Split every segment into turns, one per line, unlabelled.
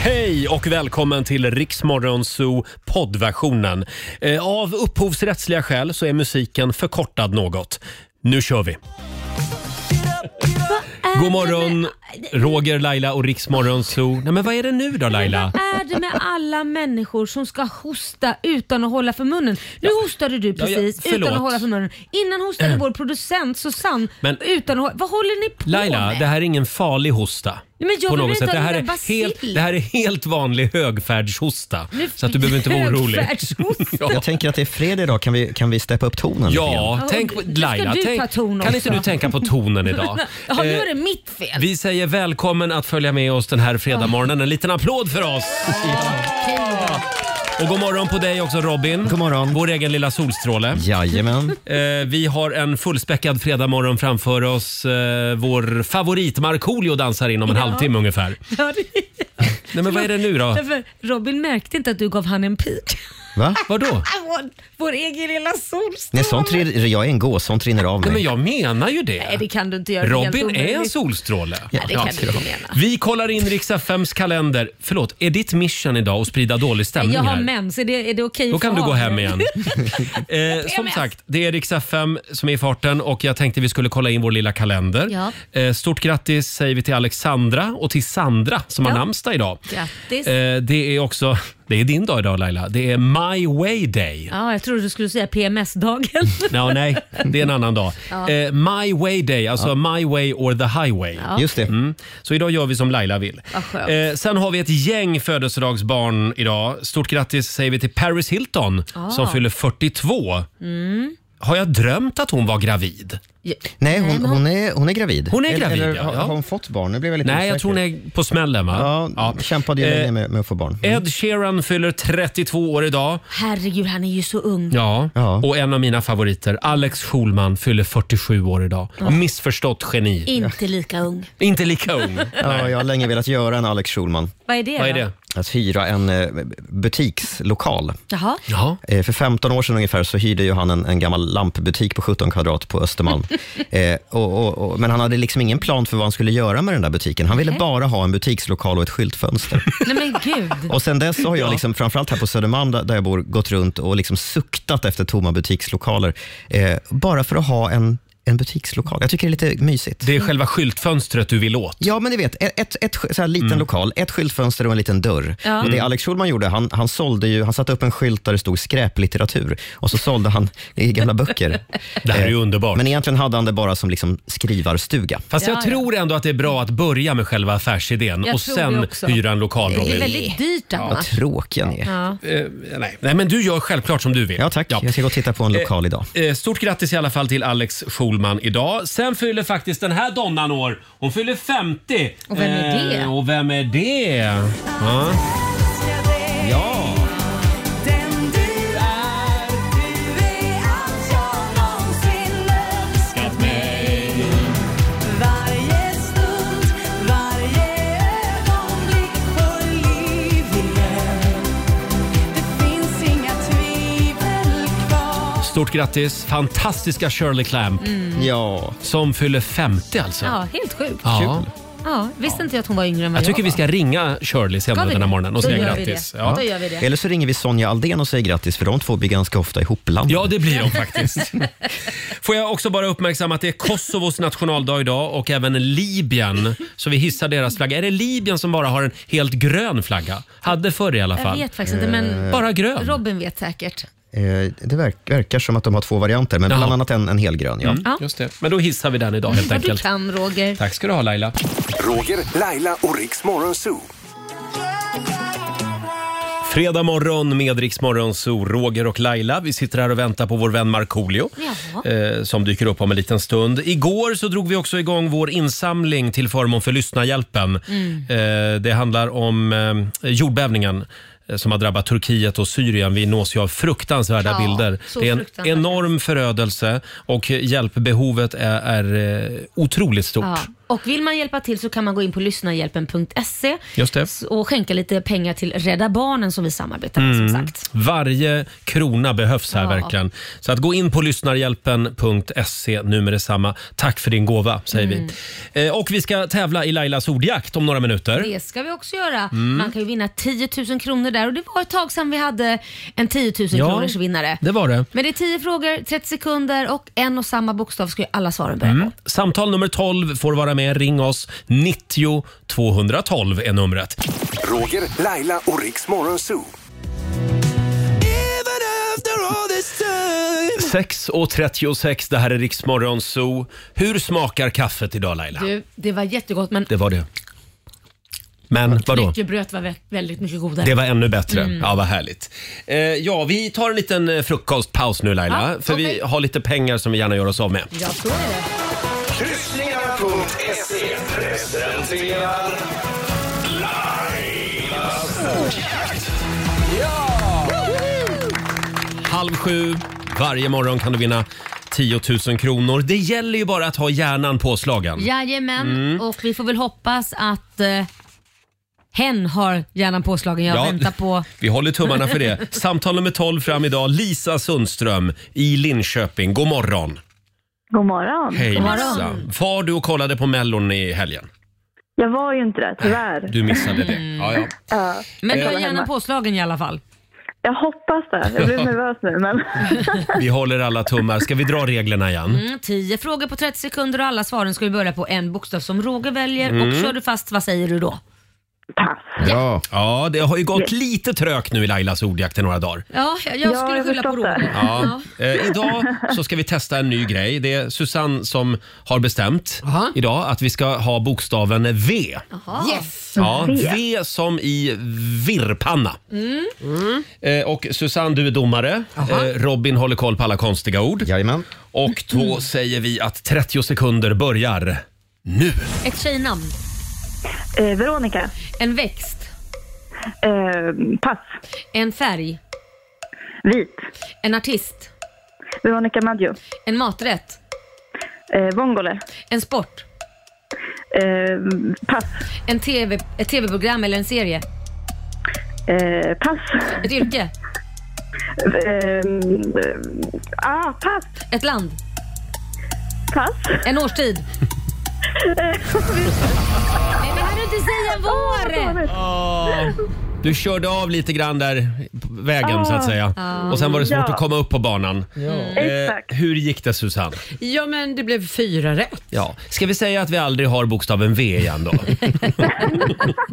Hej och välkommen till Riksmorgon Zoo poddversionen. Eh, Av upphovsrättsliga skäl så är musiken förkortad något. Nu kör vi! God morgon, Roger, Laila och Riksmorgon Zoo. Nej, men vad är det nu då Laila?
Är det med alla människor som ska hosta utan att hålla för munnen? Nu hostade du
Ja, ja,
precis
förlåt.
utan att hålla för munnen. Innan hostade vår producent Susanne
Men-
utan att hå- Vad håller ni på
Laila,
med?
det här är ingen farlig hosta.
Nej, men jag
på
vill
något
inte
sätt. Det
ha
här,
någon
är
bacill.
helt, det här är helt vanlig högfärdshosta.
Nu-
Så att du behöver inte vara orolig.
Högfärdshosta.
Ja.
Jag tänker att det är fredag idag, kan vi, kan vi steppa upp tonen? lite grann?
Ja,
Ja,
tänk på,
nu ska
Laila,
du ta
tänk,
ton
kan inte
också.
du tänka på tonen idag?
Ja, nu är
Eh,
det mitt fel.
Vi säger välkommen att följa med oss den här fredagmorgonen. En liten applåd för oss! Och god morgon på dig också Robin.
God morgon.
Vår egen lilla solstråle.
Jajamän.
Eh, vi har en fullspäckad fredagmorgon framför oss. Eh, vår favorit Markoolio dansar in om en halvtimme ungefär.
Ja, det-
Nej men vad är det nu då?
Därför Robin märkte inte att du gav han en pik.
Va?
Vadå?
Vår, vår egen lilla solstråle.
Nej, sånt rinner, jag är en gås, sånt rinner av
Nej men
mig.
jag menar ju
Nej, det
det.
kan du inte göra. Det helt
Robin är en
omöjligt.
solstråle.
Nej, det kan du inte mena.
Vi kollar in Rix FMs kalender. Förlåt, är ditt mission idag att sprida dålig stämning
Jag har
här?
mens, är det, är det okej
Då
för
kan du gå
honom?
hem igen. Eh, som sagt, det är Rix FM som är i farten och jag tänkte vi skulle kolla in vår lilla kalender.
Ja.
Eh, stort grattis säger vi till Alexandra och till Sandra som har
Ja.
namnsdag idag.
Grattis.
Eh, det är också, det är din dag idag Laila. Det är My Way Day.
Ja, jag trodde du skulle säga PMS-dagen.
Ja, nej, det är en annan dag. Eh, my way day, alltså my way or the highway.
Just det.
Mm. Så idag gör vi som Laila vill.
Vad skönt.
Eh, sen har vi ett gäng födelsedagsbarn idag. Stort grattis säger vi till Paris Hilton
Ah.
som fyller 42.
Mm.
Har jag drömt att hon var gravid?
Nej, hon, hon, är, hon är gravid.
Hon är
Eller-
gravid,
eller,
ja,
har-
ja.
Har hon fått barn? Nu blev jag lite
Nej, jag
osäker.
tror hon är på smällen va?
Ja, kämpade ju
Eh,
länge med, med att få barn. Mm.
Ed Sheeran fyller 32 år idag.
Herregud, han är ju så ung.
Ja.
Ja.
och en av mina favoriter, Alex Schulman, fyller 47 år idag. Missförstått geni.
Inte lika ung.
Inte lika ung.
Ja, jag har länge velat göra en Alex Schulman.
Vad är det
Vad är
då?
det?
Att hyra en eh, butikslokal.
Jaha.
Ja.
Eh, För 15 år sedan ungefär så hyrde ju han en, en gammal lampbutik på 17 kvadrat på Östermalm. eh, och, och, och, men han hade liksom ingen plan för vad han skulle göra med den där butiken. Han ville bara ha en butikslokal och ett skyltfönster.
Nej men gud.
Och sen dess så har jag, liksom, framförallt här på Södermalm där där jag bor, gått runt och liksom suktat efter tomma butikslokaler. Eh, bara för att ha en, en butikslokal. Jag tycker det är lite mysigt.
Det är själva skyltfönstret du vill åt. Mm.
Ja, men ni vet, ett, ett, ett så här liten lokal, ett skyltfönster och en liten dörr.
Ja.
Och det Alex Schulman gjorde, han, han, sålde ju, han satte upp en skylt där det stod skräplitteratur och så sålde han i gamla böcker.
Det här är ju
Eh,
underbart.
Men egentligen hade han det bara som liksom skrivarstuga.
Fast
Ja,
jag
ja.
tror ändå att det är bra att börja med själva affärsidén
Jag
och
tror
sen
det också.
hyra en lokal
Det är
Robin.
väldigt dyrt Anna.
Vad tråkiga ni är. Ja,
Ja.
Eh, nej. nej men du gör självklart som du vill.
tack. Jag ska gå och titta på en lokal idag.
Eh, Stort grattis i alla fall till Alex Schulman idag. Sen fyller faktiskt den här donnan år. Hon fyller 50.
Och vem är
Eh,
det?
Och vem är det? Ja. ja. Stort grattis fantastiska Shirley Clamp
Ja.
som fyller 50 alltså.
Mm. ja, helt sjukt.
Ja.
Ja, visste inte jag att hon var yngre än vad
Jag tycker
var.
vi ska ringa Shirley
Ska
senare
vi
den här
det?
morgonen och
Då
säga
gör vi
grattis.
det.
Ja.
Då gör vi det.
Eller så ringer vi Sonja Aldén och säger grattis, för de två blir ganska ofta ihopblandade.
Ja, det blir de faktiskt. Får jag också bara uppmärksamma att det är Kosovos nationaldag idag och även Libyen. Så vi hissar deras flagga. Är det Libyen som bara har en helt grön flagga? Hade förr i alla
Jag
fall. Eh.
vet faktiskt inte men
Bara grön.
Robin vet säkert.
Eh, det verk, verkar som att de har två varianter, men bland
Jaha.
annat en, en helgrön. Ja.
Mm. Ja.
Just det. Men då hissar vi den idag helt
Vad du
enkelt.
kan Roger.
Tack ska du ha Laila.
Roger, Laila och Riks Morgonzoo.
Fredag morgon med Rix Morgon, så Roger och Laila. Vi sitter här och väntar på vår vän Markoolio
Jaha.
eh, som dyker upp om en liten stund. Igår så drog vi också igång vår insamling till förmån för lyssnarhjälpen.
Mm.
Eh, det handlar om eh, jordbävningen eh, som har drabbat Turkiet och Syrien. Vi nås ju av fruktansvärda
Ja,
bilder.
så
Det är en
fruktansvärt.
enorm förödelse och hjälpbehovet är, är eh, otroligt stort.
Ja, Och vill man hjälpa till så kan man gå in på lyssnarhjälpen.se
Just det.
s- och skänka lite pengar till Rädda Barnen som vi samarbetar med
Mm.
som sagt.
Varje krona behövs här
Ja.
verkligen. Så att gå in på lyssnarhjälpen.se nu med detsamma. Tack för din gåva, säger
Mm.
vi. Eh, Och vi ska tävla i Lailas ordjakt om några minuter.
Det ska vi också göra.
Mm.
Man kan ju vinna 10 000 kronor där och det var ett tag sedan vi hade en 10 000 kronors vinnare.
det var det.
Men det är 10 frågor, 30 sekunder och en och samma bokstav ska ju alla svaren börja på.
Mm. Samtal nummer 12 får vara med. Ring oss. 90 212 är numret.
Roger, Laila och Riks Morgonzoo.
6.36, det här är Riksmorgon Zoo. Hur smakar kaffet idag Laila?
Du, det var jättegott men
Det var det. Men vadå?
knäckebrödet var vä- väldigt mycket godare.
Det var ännu bättre.
Mm.
Ja, vad härligt. Eh, ja, vi tar en liten eh, frukostpaus nu Laila.
Ja,
för vi
okej.
har lite pengar som vi gärna gör oss av med.
Ja, så är det.
Kryssningar.se presenterar
Halv sju varje morgon kan du vinna 10 000 kronor. Det gäller ju bara att ha hjärnan Mm. påslagen.
Jajamän, och vi får väl hoppas att eh, hen har hjärnan påslagen. Jag
Ja.
väntar på...
Vi håller tummarna för det. Samtal nummer 12 fram idag. Lisa Sundström i Linköping. God morgon.
God morgon.
Hej
God
Lisa.
morgon.
Var du och kollade på Mellon i helgen?
Jag var ju inte där, tyvärr.
Du missade det. Ja, ja.
Ja.
Men du har
Jag var
hjärnan
hemma.
påslagen i alla fall.
Jag hoppas det. Jag blir nervös nu. Men...
Vi håller alla tummar. Ska vi dra reglerna igen?
Mm, 10 frågor på 30 sekunder och alla svaren ska ju börja på en bokstav som Roger väljer. Och kör du fast, vad säger du då?
Pass.
Ja.
Ja, det har ju gått lite trögt nu i Lailas ordjakt i några dagar.
Ja, jag,
Ja,
skulle
jag
skylla på
förstår
Roger.
det.
Ja. Eh, idag så ska vi testa en ny grej. Det är Susanne som har bestämt
Aha.
idag att vi ska ha bokstaven V.
Jaha. Yes.
Ja, V som i virrpanna.
Mm.
Eh, och Susanne, du är domare. Eh, Robin håller koll på alla konstiga ord.
Jajamän.
Och då säger vi att 30 sekunder börjar nu.
Ett tjejnamn,
Eh, Veronica.
en växt,
Eh, pass.
en färg,
Vit.
en artist,
Veronica Maggio.
en maträtt,
Eh, Vongole.
en sport,
Eh, pass.
en TV, ett tv-program eller en serie,
Eh, pass.
ett yrke,
Eh, eh, ah, pass.
ett land,
Pass.
en årstid. Nej, men kan du inte säga vår?
Ah. Du körde av lite grann där på vägen så att säga. Och sen var det svårt
Ah. Ja.
att komma upp på banan. Eh,
Exakt.
hur gick det Susanne?
Ja, men det blev fyra rätt.
Ja. Ska vi säga att vi aldrig har bokstaven V igen då?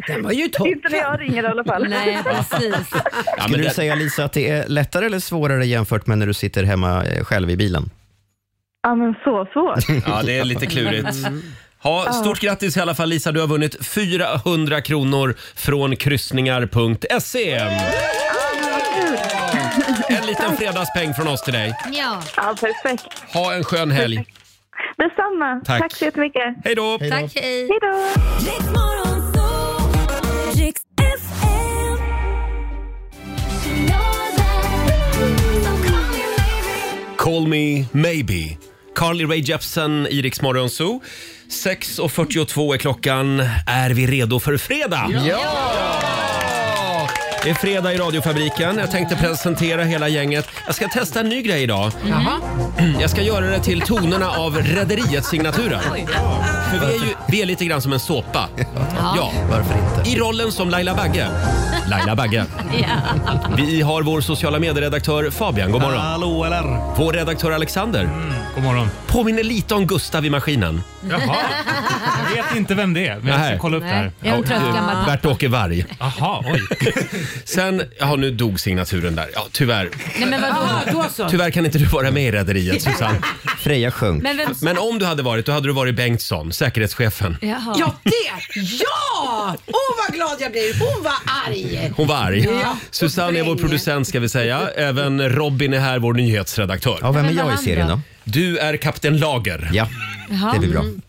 Den var ju topp.
Inte när jag ringer i alla fall.
Nej, precis.
Ja, men
Skulle du
det,
säga Lisa att det är lättare eller svårare jämfört med när du sitter hemma eh, själv i bilen?
Ja, men så svårt.
ja, det är lite klurigt.
Mm.
Ah.
Ja, stort grattis i alla fall Lisa, du har vunnit 400 kronor från kryssningar.se. E En liten fredagspeng från oss till dig.
Ja,
Ja, perfekt.
Ha en skön helg.
Detsamma.
Tack.
Tack så jättemycket.
Hej då!
tack, hej.
Hej då.
Call me maybe. Carly Rae Jepsen i Rix Morgon Zoo. 6.42 är klockan. Är vi redo för fredag? Ja! Det är fredag i radiofabriken. Jag tänkte presentera hela gänget. Jag ska testa en ny grej idag. Mm. Jag ska göra det till tonerna av Rederiets signaturer. För vi är ju vi är lite grann som en såpa. Ja.
Varför inte?
I rollen som Laila Bagge. Laila Bagge. Vi har vår sociala medieredaktör Fabian. God morgon.
Hallå eller? Mm,
Vår redaktör Alexander
God morgon.
påminner lite om Gustav i Maskinen.
Jaha. Jag vet inte vem det är, men jag
Nej.
ska kolla upp det
Nej,
här.
jag är en trött gammal
Bert-Åke Varg.
Jaha, oj.
Sen, ja nu dog signaturen där. Ja, tyvärr.
Nej, men vadå?
Ja, då så.
Tyvärr kan inte du vara med i Rederiet Susanne.
Freja sjönk.
Men vem...
Men om du hade varit, då hade du varit Bengtsson, säkerhetschefen.
Jaha.
Ja, det! Ja! Åh, vad glad jag blir. Hon var arg.
Hon var arg. Susanne är vår producent ska vi säga. Även Robin är här, vår nyhetsredaktör.
Ja, vem är
Men vad
jag i
han
serien
då?
då?
Du är kapten Lager. Mm.
Ja, det blir bra.
Mm.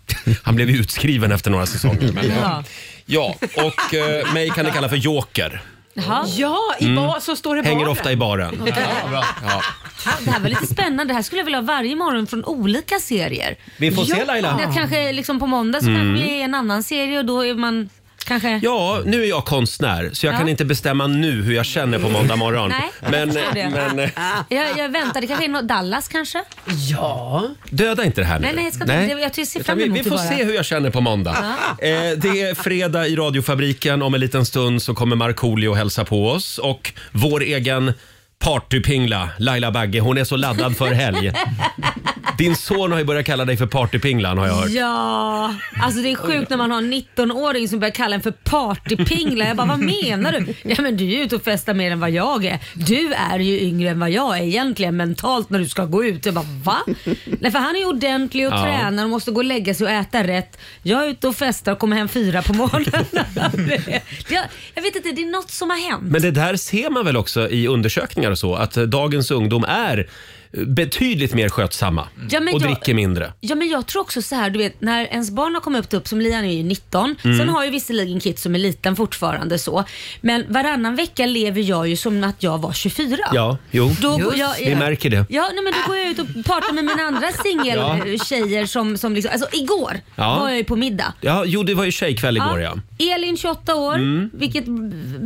Han blev ju utskriven efter några säsonger. Men, ja.
Ja.
ja, och eh, mig kan ni kalla för Joker. Mm.
Jaha.
Ja, i bar så står det
Hänger
baren.
ofta i baren.
Ja, Det här var lite spännande. Det här skulle jag vilja ha varje morgon från olika serier.
Vi får se Laila. Mm.
Det kanske liksom på måndag så kanske det är en annan serie och då är man kanske...
Ja, nu är jag konstnär så jag
Ja.
kan inte bestämma nu hur jag känner på måndag morgon.
Nej, jag
men,
förstår det.
men
Jag, jag väntar, det kanske är något Dallas kanske?
Ja.
döda inte det här nu.
Nej, nej, jag, ska inte,
Nej.
jag, jag ser
Utan
fram
vi,
emot
vi får
det bara.
se hur jag känner på måndag. Eh, det är fredag i radiofabriken. Om en liten stund så kommer Markoolio och hälsa på oss. Och vår egen partypingla, Laila Bagge, hon är så laddad för helg. Din son har ju börjat kalla dig för partypinglan har jag hört.
Ja, alltså det är sjukt när man har en 19-åring som börjar kalla en för partypingla. Jag bara, vad menar du? Ja men du är ju ute och festar mer än vad jag är. Du är ju yngre än vad jag är egentligen mentalt när du ska gå ut. Jag bara, va? Nej för han är ju ordentlig och
Ja.
tränar och måste gå och lägga sig och äta rätt. Jag är ute och festar och kommer hem fyra på morgonen. jag, jag vet inte, det är något som har hänt.
Men det där ser man väl också i undersökningar och så, att eh, dagens ungdom är eh, betydligt mer skötsamma
Ja, men
och
jag-
dricker mindre.
Ja men jag tror också så här, du vet när ens barn har kommit upp, upp som Lian är ju 19,
Mm.
sen har ju visserligen Kit som är liten fortfarande så, men varannan vecka lever jag ju som att jag var 24.
Ja, jo.
Då går jag,
Vi märker det.
Ja, nej, men då går jag ut och pratar med mina andra singeltjejer som, som liksom, alltså igår
Ja.
var jag ju på middag.
Ja, jo, det var ju tjejkväll igår ja. Mm.
Elin 28 år, vilket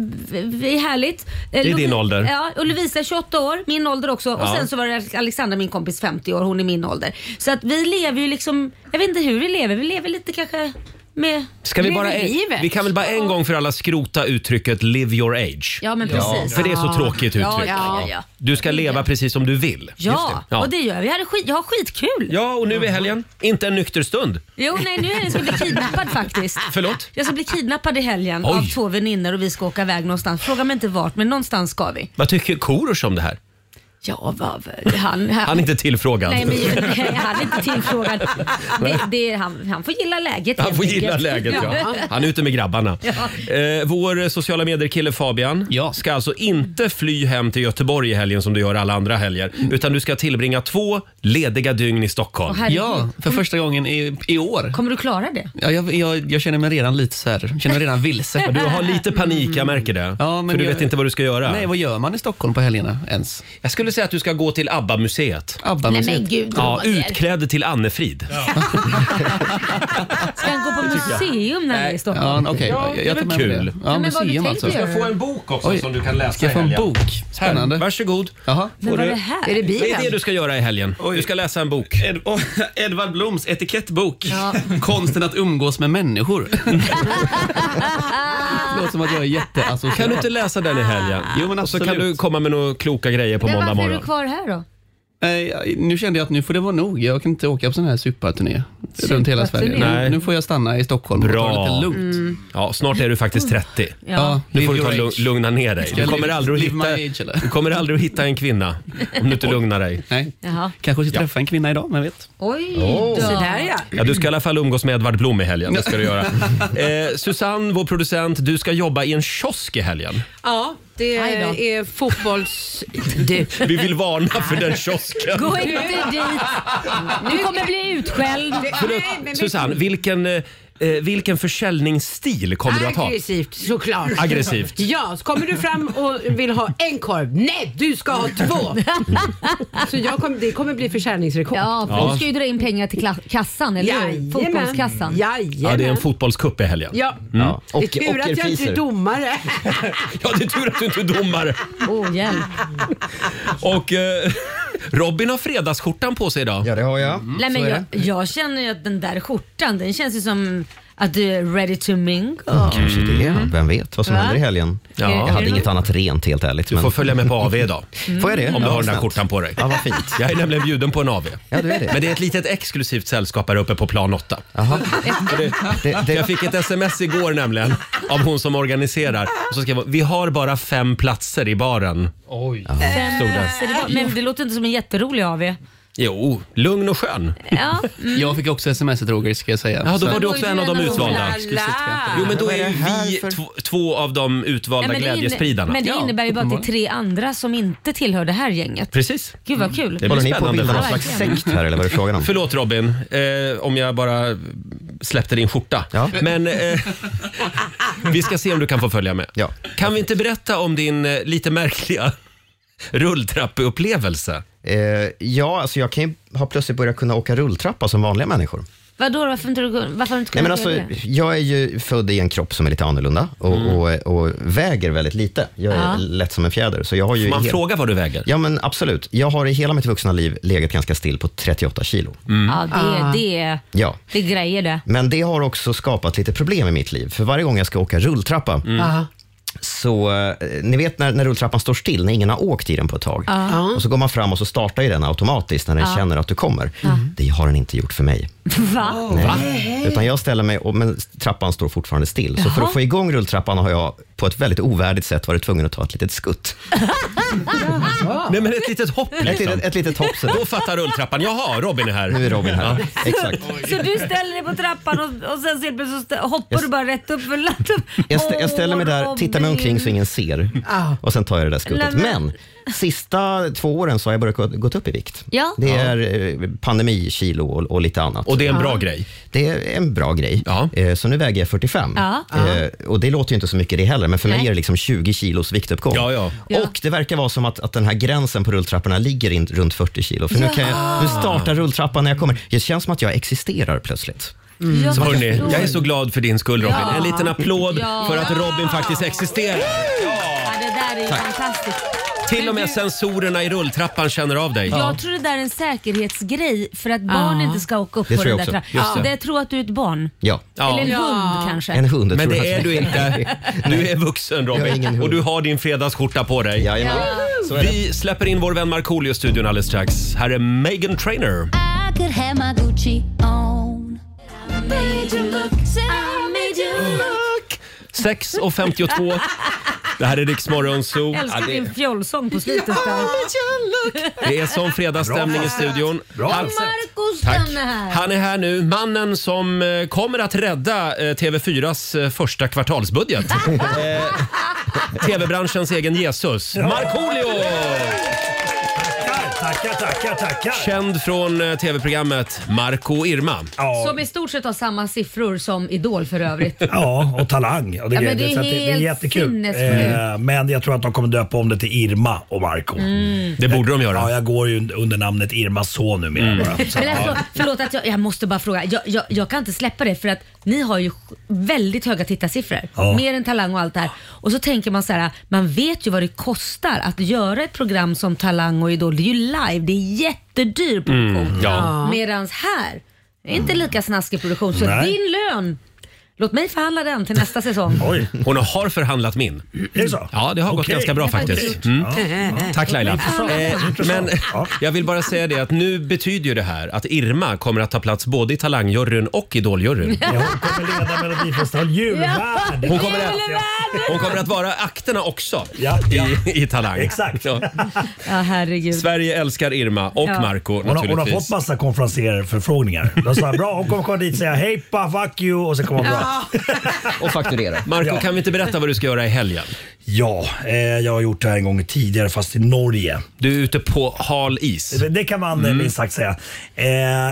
är härligt. Det
är din ålder.
Ja, och Lovisa 28 år, min ålder också.
Ja.
Och sen så var det Alexandra, min kompis, 50 år. Hon är min ålder. Så att vi lever ju liksom, jag vet inte hur vi lever. Vi lever lite kanske med...
Ska vi,
Lever
bara en,
livet.
vi kan väl bara en gång för alla skrota uttrycket “live your age”?
Ja, men precis.
För det är så
Ja.
tråkigt uttryck.
Ja, ja, ja. ja.
Du ska leva precis som du vill.
Ja,
Ja.
och det gör vi. Jag, hade skit, jag har skitkul.
Ja, och nu i helgen, inte en nykter stund.
Jo, nej, nu är jag ska bli kidnappad faktiskt.
Förlåt?
Jag ska bli kidnappad i helgen
Oj.
av två väninnor och vi ska åka iväg någonstans. Fråga mig inte vart, men någonstans ska vi.
Vad tycker Korosh om det här?
Ja, vad, han,
Han är inte tillfrågad.
Nej, men nej, han är inte tillfrågad. Det, det, han, han får gilla läget
Han
helt
får gilla
enkelt.
läget ja. Han är ute med grabbarna. Eh, vår sociala medier-kille Fabian
Ja.
ska alltså inte fly hem till Göteborg i helgen som du gör alla andra helger.
Mm.
Utan du ska tillbringa två lediga dygn i Stockholm.
Herregud.
Ja, för första gången i, i år.
Kommer du klara det?
Ja, jag, jag, jag känner mig redan lite så här, känner mig redan vilse.
Du har lite panik, jag märker det.
Ja, men
för du
jag-
vet inte vad du ska göra.
Nej, vad gör man i Stockholm på helgerna ens?
Jag skulle säga att du ska gå till ABBA-museet.
ABBA-museet.
gud
Ja, utklädd till Annefrid.
Ska han gå på museum när han är i Stockholm?
Ja, okej.
Ja, det är
jag tar
väl
med mig
kul.
det. Ja,
men vad du
museum
tänker
alltså.
göra.
Jag får en bok också
Oj.
som du kan läsa
Ska jag få
i
en
helgen.
bok? Spännande.
Här, varsågod.
Jaha.
Men
Får
vad är
du-
det här?
Är det
Det är det
bilen?
du ska göra i helgen. Du ska läsa en bok.
Ed oh, Edvard Bloms etikettbok. Konsten att umgås med människor. Låter som att jag är
alltså
jätteasocial.
Kan du inte läsa den i helgen?
Jo, men
Ah. Och så kan
absolut.
du komma med några kloka grejer på
Men
måndag
varför är
morgon.
du kvar här då?
Nej, Eh, nu kände jag att nu får det vara nog. Jag kan inte åka på sån här superturné runt hela
Superturné? Mm.
Sverige.
Nej.
Nu, nu får jag stanna i Stockholm och ta
Bra.
det lite lugnt.
Ja, snart är du
Oh.
faktiskt 30.
Ja,
Nu får
live
du ta
your
lu-
age.
lugna ner dig. Du
jag
kommer,
live-
aldrig att
live my
hitta,
age, eller?
du kommer aldrig att hitta en kvinna om du inte lugnar dig.
Nej.
Jaha.
Kanske ska träffa en kvinna idag, men vet.
Oj då.
Så där ja.
Ja, du ska i alla fall umgås med Edvard Blom i helgen. Det ska du göra. Eh, Susanne, vår producent, du ska jobba i en kiosk i helgen.
Ja, det
Aj då.
är fotbolls... Du.
Vi vill varna för den kiosken.
Gå inte dit. Du kommer bli utskälld.
Förlåt, Susanne, vilken, eh, eh, vilken försäljningsstil kommer du att ha?
Aggressivt, såklart.
Aggressivt.
Ja, så kommer du fram och vill ha en korv. Nej, du ska ha två! Så jag kom, det kommer bli försäljningsrekord.
Ja, för du ska ju dra in pengar till kla- kassan, eller hur?
Jajamän.
Fotbollskassan.
Mm,
Ja,
Jajamän.
det är en fotbollscup i helgen. Mm.
Ja.
Ja.
Det är
Och- och
tur att jag inte
repriser.
är domare.
Ja, det är tur att du inte är domare.
Åh, Oh, hjälp.
Och eh, Robin har fredagsskjortan på sig idag. Mm.
Ja, det har jag.
Nej, men
är
jag, jag känner ju att den där skjortan, den känns ju som att du är ready to mingle.
Mm.
Mm.
Kanske det. Vem vet vad som händer i helgen?
Ja.
Jag hade inget annat rent helt ärligt.
Du
Men...
får följa med på AV idag.
Får jag det?
Om du
Ja,
har den här
snällt.
skjortan på dig.
Ja, vad fint.
Jag är nämligen bjuden på en AV.
Ja, du är det.
Men det är ett litet exklusivt sällskap här uppe på plan 8.
Jaha.
Det,
Det, det,
jag fick ett sms igår nämligen av hon som organiserar. Och så skrev hon, vi har bara fem platser i baren.
Oj.
Stod det.
Så det var, men det låter inte som en jätterolig AV.
Jo, lugn och skön.
Ja,
Jag fick också sms ett Roger, ska jag säga.
Ja, då
Så-
var du
var
också
ju
en
du
av de
en av dem.
utvalda. Jo, men då är ju vi två, två av de utvalda
men, det
glädjespridarna.
inne- men det
Ja,
innebär ju bara att det är
uppenbarligen.
tre andra som inte tillhör det här gänget.
Mm. Precis.
Gud vad kul.
Det blir
håller ni på att
spännande
bilda
för
någon
oss.
slags sekt här eller vad är det frågan om?
Förlåt Robin, eh, om jag bara släppte din skjorta.
Ja.
Men eh, vi ska se om du kan få följa med.
Ja.
Kan vi inte berätta om din eh, lite märkliga rulltrappeupplevelse?
Eh, ja, alltså jag kan ju ha plötsligt börjat kunna åka rulltrappa som vanliga människor.
Vadå, varför inte du varför har du inte
Nej, men
kunnat
alltså,
göra det? Mm.
jag är ju född i en kropp som är lite annorlunda och, och, och väger väldigt lite. Jag är
Ja.
lätt som en fjäder. Så jag har ju
Får man
hel-
fråga vad du väger?
Ja, men absolut. Jag har i hela mitt vuxna liv legat ganska still på 38 kilo.
Mm.
Ja,
Ah.
det, det,
Ja.
det är grejer det.
Men det har också skapat lite problem i mitt liv. För varje gång jag ska åka rulltrappa,
Mm.
Mm.
Ja.
så eh, ni vet när, när rulltrappan står still, när ingen har åkt i den på ett tag. Och så går man fram och så startar ju den automatiskt när den känner att du kommer. Det har den inte gjort för mig.
Va?
Nej. Utan jag ställer mig, och, men trappan står fortfarande still. Så för att få igång rulltrappan har jag på ett väldigt ovärdigt sätt varit tvungen att ta ett litet skutt.
Nej, men ett litet hopp
Ett,
liksom.
litet- ett litet hopp. så-
Då fattar rulltrappan. Jaha, Robin är här.
Nu är Robin här.
Ja.
Exakt.
Så du ställer dig på trappan och, och sen så helt plötsligt så stä- hoppar du bara rätt upp för latten.
Jag, stä, jag ställer mig där,
Åh,
tittar mig omkring så
Robin.
ingen ser och sen tar jag det där skuttet.
Nej, men-
Men sista två åren så har jag börjat gå- gått upp i vikt.
Ja.
Det är eh, pandemikilo och, och lite annat.
Och det är en bra grej.
Det är en bra grej.
Ja.
Eh, Så nu väger jag 45.
Ja.
Eh, Och det låter ju inte så mycket det heller, men för mig
Nej.
är det liksom 20 kilos viktuppgång.
Ja, ja.
Ja.
Och det verkar vara som att, att den här gränsen på rulltrapporna ligger in, runt 40 kilo. För nu, kan jag, nu startar rulltrappan när jag kommer. Det känns som att jag existerar plötsligt.
Jag
Hörrni,
förstår.
jag är så glad för din skull Robin.
Mm. Ja.
En liten applåd
Ja.
för att Robin faktiskt existerar.
Ja, det där är ju fantastiskt.
Till och med sensorerna i rulltrappan känner av dig.
Jag tror det där är en säkerhetsgrej för att barn
Ja.
inte ska åka upp
Ah. Det
på
tror
den
jag
där
också.
trappan.
Just
Ja.
det.
Det tror att du är ett barn.
Ja,
Ja.
Eller en
Ja.
hund kanske.
en hund.
Men
tror jag
det
att-
är du inte. Du är vuxen
Jag är
Robin
ingen hund.
och du har din fredagsskjorta på dig.
Jajamän. Så är det.
Vi släpper in vår vän Markoolio i studion alldeles strax. Här är Megan Trainer.
I could have my Gucci on. I made you look, so I made you look.
6.52. Det här är Rix Morgon Zoo.
Jag älskar
Ja, det,
din fjollsång på slutet där.
det är sån fredagsstämning i studion. Han,
Marcus
tack.
den är här.
Han är här nu, mannen som eh, kommer att rädda eh, TV4s eh, första kvartalsbudget. Eh, TV-branschens egen Jesus. Markoolio!
Tackar, tackar, tackar.
Känd från eh, TV-programmet Marco och Irma.
Som i stort sett har samma siffror som Idol för övrigt.
Ja, och talang. Och det,
Ja,
grejer.
men det är
Så att det är
helt
jättekul.
sinnessjukt.
Eh, men jag tror att de kommer döpa om det till Irma och Marco
Mm.
Det borde de
Ja,
göra. Mm.
jag går ju under namnet Irma så numera bara. Så,
Men
ja.
alltså, förlåt att jag, jag måste bara fråga. Jag, jag, jag kan inte släppa det för att ni har ju väldigt höga tittarsiffror.
Ja.
Mer än Talang och allt det här. Och så tänker man så här, man vet ju vad det kostar att göra ett program som Talang och Idol. Det är ju live, det är jättedyr produktion.
Mm, Ja.
Medans här, det är inte lika snaskig produktion. Så
Mm. Nej.
din lön, låt mig förhandla den till nästa säsong.
Oj,
Hon har förhandlat min.
är det så?
Ja, det har gått
Okej.
ganska bra faktiskt. Mm. Tack Laila. Eh, men
Ja.
jag vill bara säga det att nu betyder ju det här att Irma kommer att ta plats både i talangjuryn och idoljuryn.
Ja, hon kommer leda Melodifestivalen. Julvärd!
Hon kommer att-
Ja.
Hon kommer att vara akterna också
Ja, ja.
I, i Talang.
Exakt.
Ja.
Ja, herregud.
Sverige älskar Irma och
Ja.
Marco
Hon har, hon har
naturligtvis.
fått massa konferenserförfrågningar. De sa bra, hon kommer komma dit och säga hej pa, fuck you och så kommer hon bra.
Och fakturera.
Marco,
Ja.
kan vi inte berätta vad du ska göra i helgen?
Ja, eh, jag har gjort det här en gång tidigare fast i Norge.
Du är ute på hal is.
Det, det kan man eh, minst sagt säga. Eh,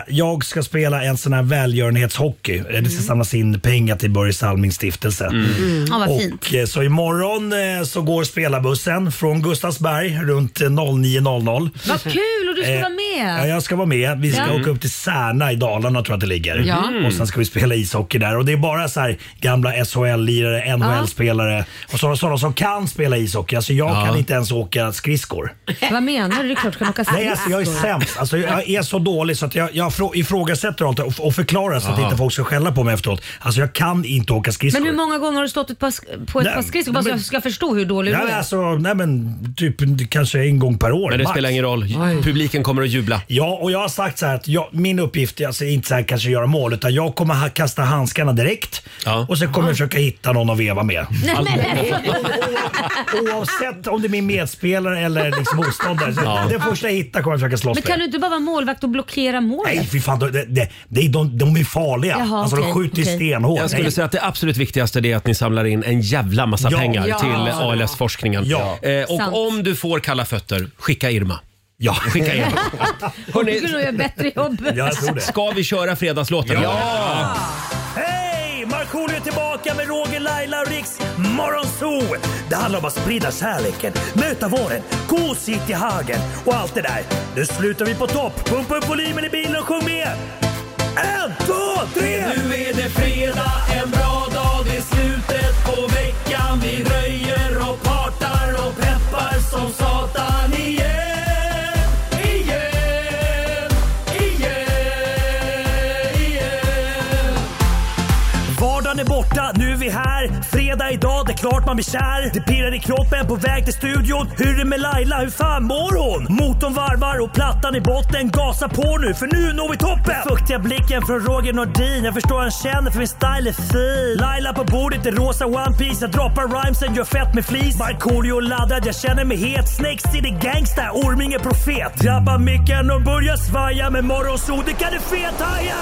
jag ska spela en sån här välgörenhetshockey. Eh, Det ska samlas in pengar till Börje Salmings stiftelse.
Mm. Ja, vad fint.
Och, eh, så imorgon eh, så går spelarbussen från Gustavsberg runt eh, 09.00.
Vad kul och du ska
Eh,
vara
Ja,
med.
jag ska vara med. Vi ska
Ja.
åka upp till Särna i Dalarna tror jag att det ligger. Mm.
Ja.
Och sen ska vi spela ishockey där. Och det är bara så här gamla SHL-lirare, NHL-spelare och sådana, sådana som kan spela ishockey. Alltså jag kan inte ens åka skridskor.
Vad menar du? Det är klart du kan åka
Nej, alltså jag är
skridskor.
sämst. Alltså jag är så dålig så att jag, jag frå- ifrågasätter allt och, och förklarar så att inte folk ska skälla på mig efteråt. Alltså jag kan inte åka skridskor.
Men hur många gånger har du stått ett par, sk- på ett
Nej,
par skridskor? Bara så
men-
jag ska förstå hur dålig du
Nej,
är.
alltså, nej men typ kanske en gång per år.
Men det
max.
spelar ingen roll. Publiken kommer att jubla.
Ja, och jag har sagt så här att jag, min uppgift är alltså inte så här kanske göra mål utan jag kommer ha, kasta handskarna direkt
Ja.
och sen kommer jag försöka hitta någon att veva med. Alltså,
Nej, men,
Alltså-
Oavsett om det är min medspelare eller liksom motståndare. Ja. Den första jag hittar kommer jag försöka slåss
men kan du
med.
inte bara vara målvakt och blockera målet?
Nej, fy fan. De, de, de, de, de är farliga.
Jaha,
alltså,
okej,
de skjuter
okej.
stenhårt.
Jag skulle
Nej.
säga att det absolut viktigaste är att ni samlar in en jävla massa
Ja.
pengar
Ja.
till ALS-forskningen.
Ja.
Eh, och
Sant.
om du får kalla fötter, skicka Irma.
Ja,
Skicka Irma.
Du
Hörrni,
skulle nog göra bättre jobb.
jag tror det.
ska vi köra fredagslåten? Ja!
Hej! Markoolio är tillbaka med Roger, Laila och Riks Morgonzoo! Det handlar om att sprida kärleken, möta våren, gosigt i hagen och allt det där. Nu slutar vi på topp! Pumpa upp volymen i bilen och sjung med! En, två, tre!
Nu är det fredag, en bra dag, det är slutet på veckan. Vi röjer och partar och peppar som satan igen. Igen, igen, igen.
Vardagen är borta, nu är vi här. Fredag idag, det är klart man blir kär. Det pirrar i kroppen på väg till studion. Hur är det med Laila, hur fan mår hon? Motorn varvar och plattan i botten. Gasa på nu, för nu når vi toppen! Den fuktiga blicken från Roger Nordin. Jag förstår han känner för min style är fin. Laila på bordet i rosa One Piece Jag droppar rhymesen, gör fett med flis. Markoolio laddad, jag känner mig het. Snake City gangsta, Orminge profet. Drabbar micken och börjar svaja. Med morgonsol, det kan du fethaja!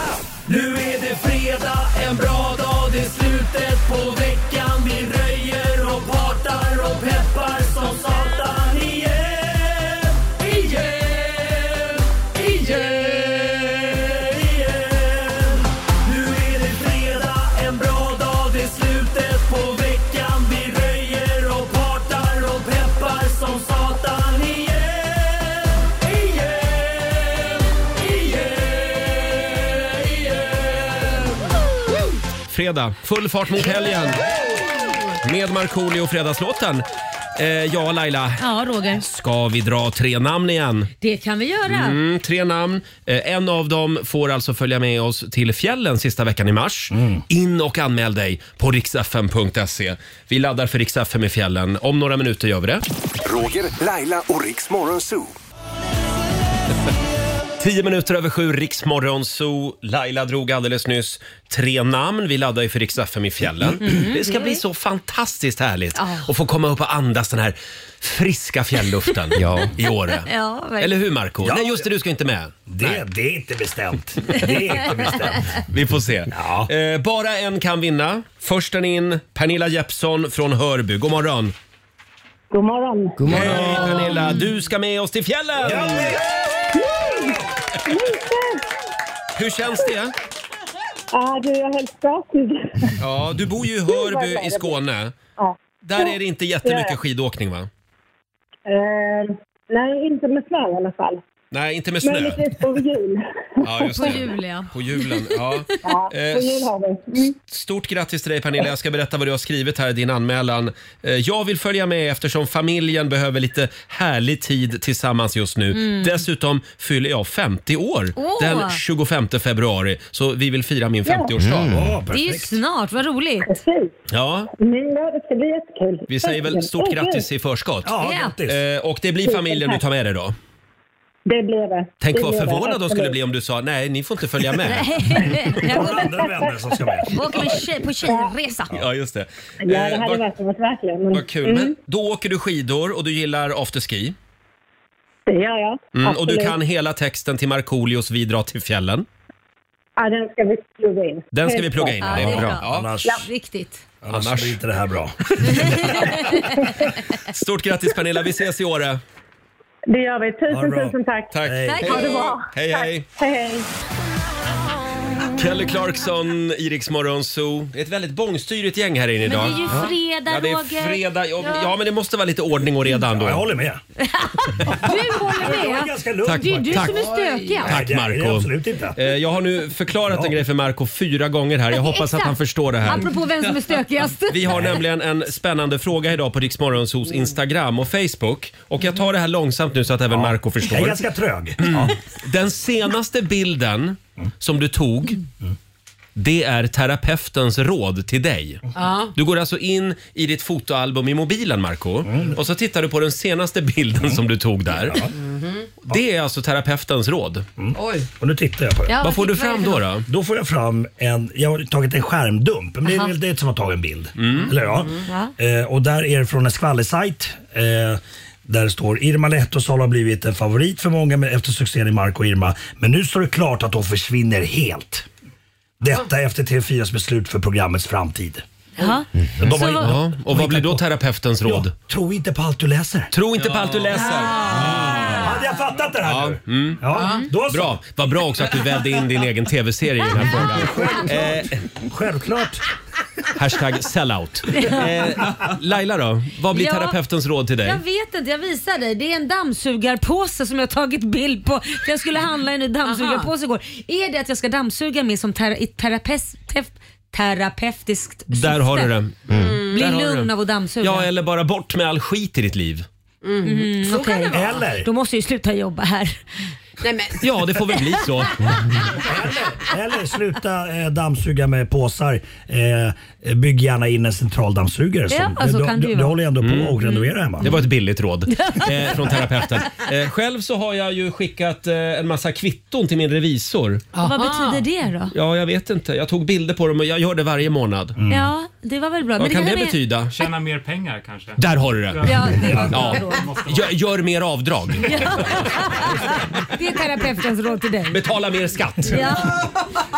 Nu är det fredag, en bra dag, det är slutet på veckan. Vi röjer och partar och peppar som satan igen. Igen, igen, igen. Nu är det fredag, en bra dag, det är slutet på veckan. Vi röjer och partar och peppar som satan igen. Igen, igen, igen.
Fredag, full fart mot helgen. Med Markoolio och Fredagslåten. Eh, ja, Laila.
Ja, Roger.
Ska vi dra tre namn igen?
Det kan vi göra.
Mm, tre namn. Eh, en av dem får alltså följa med oss till fjällen sista veckan i mars.
Mm.
In och anmäl dig på riksfm.se. Vi laddar för riksfm i fjällen. Om några minuter gör vi det.
Roger, Laila och Riks Morgonzoo.
Tio minuter över sju, Riksmorgon Zoo. Laila drog alldeles nyss tre namn. Vi laddar ju för Riks-FM i fjällen.
Mm.
Det ska bli så fantastiskt härligt
Ja.
att få komma upp och andas den här friska fjällluften i Åre.
Ja, verkligen.
Eller hur Marco?
Ja.
Nej, just det, du ska inte med. Nej.
Det, det är inte bestämt. Det är inte bestämt.
Vi får se. Eh, bara en kan vinna. Försten in, Pernilla Jeppsson från Hörby. God morgon.
God morgon.
God morgon. Hej Pernilla, du ska med oss till fjällen! Hur känns det?
Ja, du, jag är helt skakig.
Ja, du bor ju i
vad glad
Hörby i
jag
Skåne.
Ja.
Där är det inte
Det är
jättemycket
det.
skidåkning va?
Eh, nej, inte med snö i alla fall.
Nej, inte med
Men
snö.
lite på jul.
Ja, just det. På julen, ja.
Ja, på
Eh,
jul har vi. Mm.
Stort grattis till dig Pernilla. Jag ska berätta vad du har skrivit här i din anmälan. Eh, Jag vill följa med eftersom familjen behöver lite härlig tid tillsammans just nu.
Mm.
Dessutom fyller jag 50 år
Åh!
den 25 februari. Så vi vill fira min 50-årsdag.
Mm.
det är ju snart, vad roligt.
Ja,
Men ja, det ska bli jättekul.
vi säger väl stort
Åh,
grattis
gud.
i förskott.
Ja, Ja. grattis.
Eh, Och det blir familjen du tar med dig då?
Det blir det.
Tänk
det
vad
blir det,
förvånad de skulle
absolut.
bli om du sa nej, ni får inte följa med.
Jag går med,
vänner som ska med.
åker med tjej, på tjejresa.
Ja, just det.
Ja, det hade
Eh, vad,
varit, varit verkligen. Men, Mm.
vad kul. Men då åker du skidor och du gillar afterski.
det gör jag.
Mm, och du
Absolut.
kan hela texten till Markoolios Vi drar till fjällen.
Ja, den ska vi plugga in.
Den ska
Helt
vi plugga in.
klart.
det är bra.
Ja, viktigt.
Annars, Annars blir inte
det här bra.
Stort grattis Pernilla, vi ses i Åre.
Det gör vi.
Ha det
Tusen,
bra.
tusen tack.
Tack. Hej.
Ha det bra.
Hej hej!
Hej, hej.
Kelly Clarkson, Iriks Morgonzoo. Det är ett väldigt bångstyrigt gäng här inne
Men det
idag.
är ju fredag,
Ja, det
Roger.
är fredag. Ja,
Ja.
ja, men det måste vara lite ordning och reda ändå.
Ja, jag håller med.
Du håller
Jag
med.
är ganska lugn,
det är ju du
Marco.
som är stökig.
Tack
det är
Marco.
det absolut inte.
Eh, Jag har nu förklarat en grej för Marco fyra gånger här. Jag hoppas att
Exakt.
han förstår det här.
Apropå vem som är stökigast.
Vi har nämligen en spännande fråga idag på Rix Morgonzoos
Mm.
Instagram och Facebook. Och jag tar det här långsamt nu så att även Marco förstår.
Jag är ganska trög.
Mm. Den senaste bilden
Mm.
som du tog, det är terapeutens råd till dig.
Ja.
Du går alltså in i ditt fotoalbum i mobilen, Marco
Mm.
och så tittar du på den senaste bilden som du tog där. Det är alltså terapeutens råd.
Mm.
Oj.
Och nu tittar jag på det.
Ja, Vad får du fram då? då?
Då får jag fram en, jag har tagit en skärmdump. Men det är
Aha.
väl det som har tagit en bild.
Mm.
Eller ja.
Ja.
Eh, och där är det från en skvallersajt. Eh, där står Irma Lehtosalo har blivit en favorit för många men- efter succén i Marco och Irma. Men nu står det klart att hon försvinner helt. Detta efter TV4s beslut för programmets framtid.
Mm.
Ja. Mm.
Men de har ju-
Ja, och vad blir då terapeutens råd?
Tro inte på allt du läser. Ah.
Tro inte på allt du läser.
Hade hade jag fattat det här
Ja.
nu.
Mm.
Ja, då så.
Bra. Vad bra också att du vävde in din egen tv-serie i den här frågan. Eh,
Självklart. Självklart.
Hashtag sellout. Eh, Laila då, vad blir
Ja,
terapeutens råd till dig?
Jag vet inte, jag visar dig. Det är en dammsugarpåse som jag tagit bild på. För Jag skulle handla en ny dammsugarpåse igår. Är det att jag ska dammsuga med som ter- i terapes- tef- terapeutiskt syfte? Mm.
Där har du det.
Mm.
Bli
Där har du
lugn
det.
av att dammsuga.
Ja, eller bara bort med all skit i ditt liv.
Mm,
Så kan
okej.
det vara.
Då måste jag ju sluta jobba här.
Nej, men.
Ja, det får väl bli så.
Eller sluta eh, dammsuga med påsar. Eh, bygg gärna in en centraldammsugare.
Ja,
som-
så
du,
kan
du,
det ju
du
vara.
håller ju ändå på
Mm.
och renoverar hemma.
Det var ett billigt råd eh, från terapeuten. Eh, själv så har jag ju skickat eh, en massa kvitton till min revisor.
Vad betyder det då?
Ja, jag vet inte. Jag tog bilder på dem och jag gör det varje månad.
Mm. Ja, det var väl bra.
Mm. Vad kan det
kanske är-
betyda?
Tjäna mer pengar kanske.
Där har du det!
Ja, det var ett
Ja.
bra råd.
Gör, gör mer avdrag.
Ja. Det är terapeutens råd till dig.
Betala mer skatt.
Ja.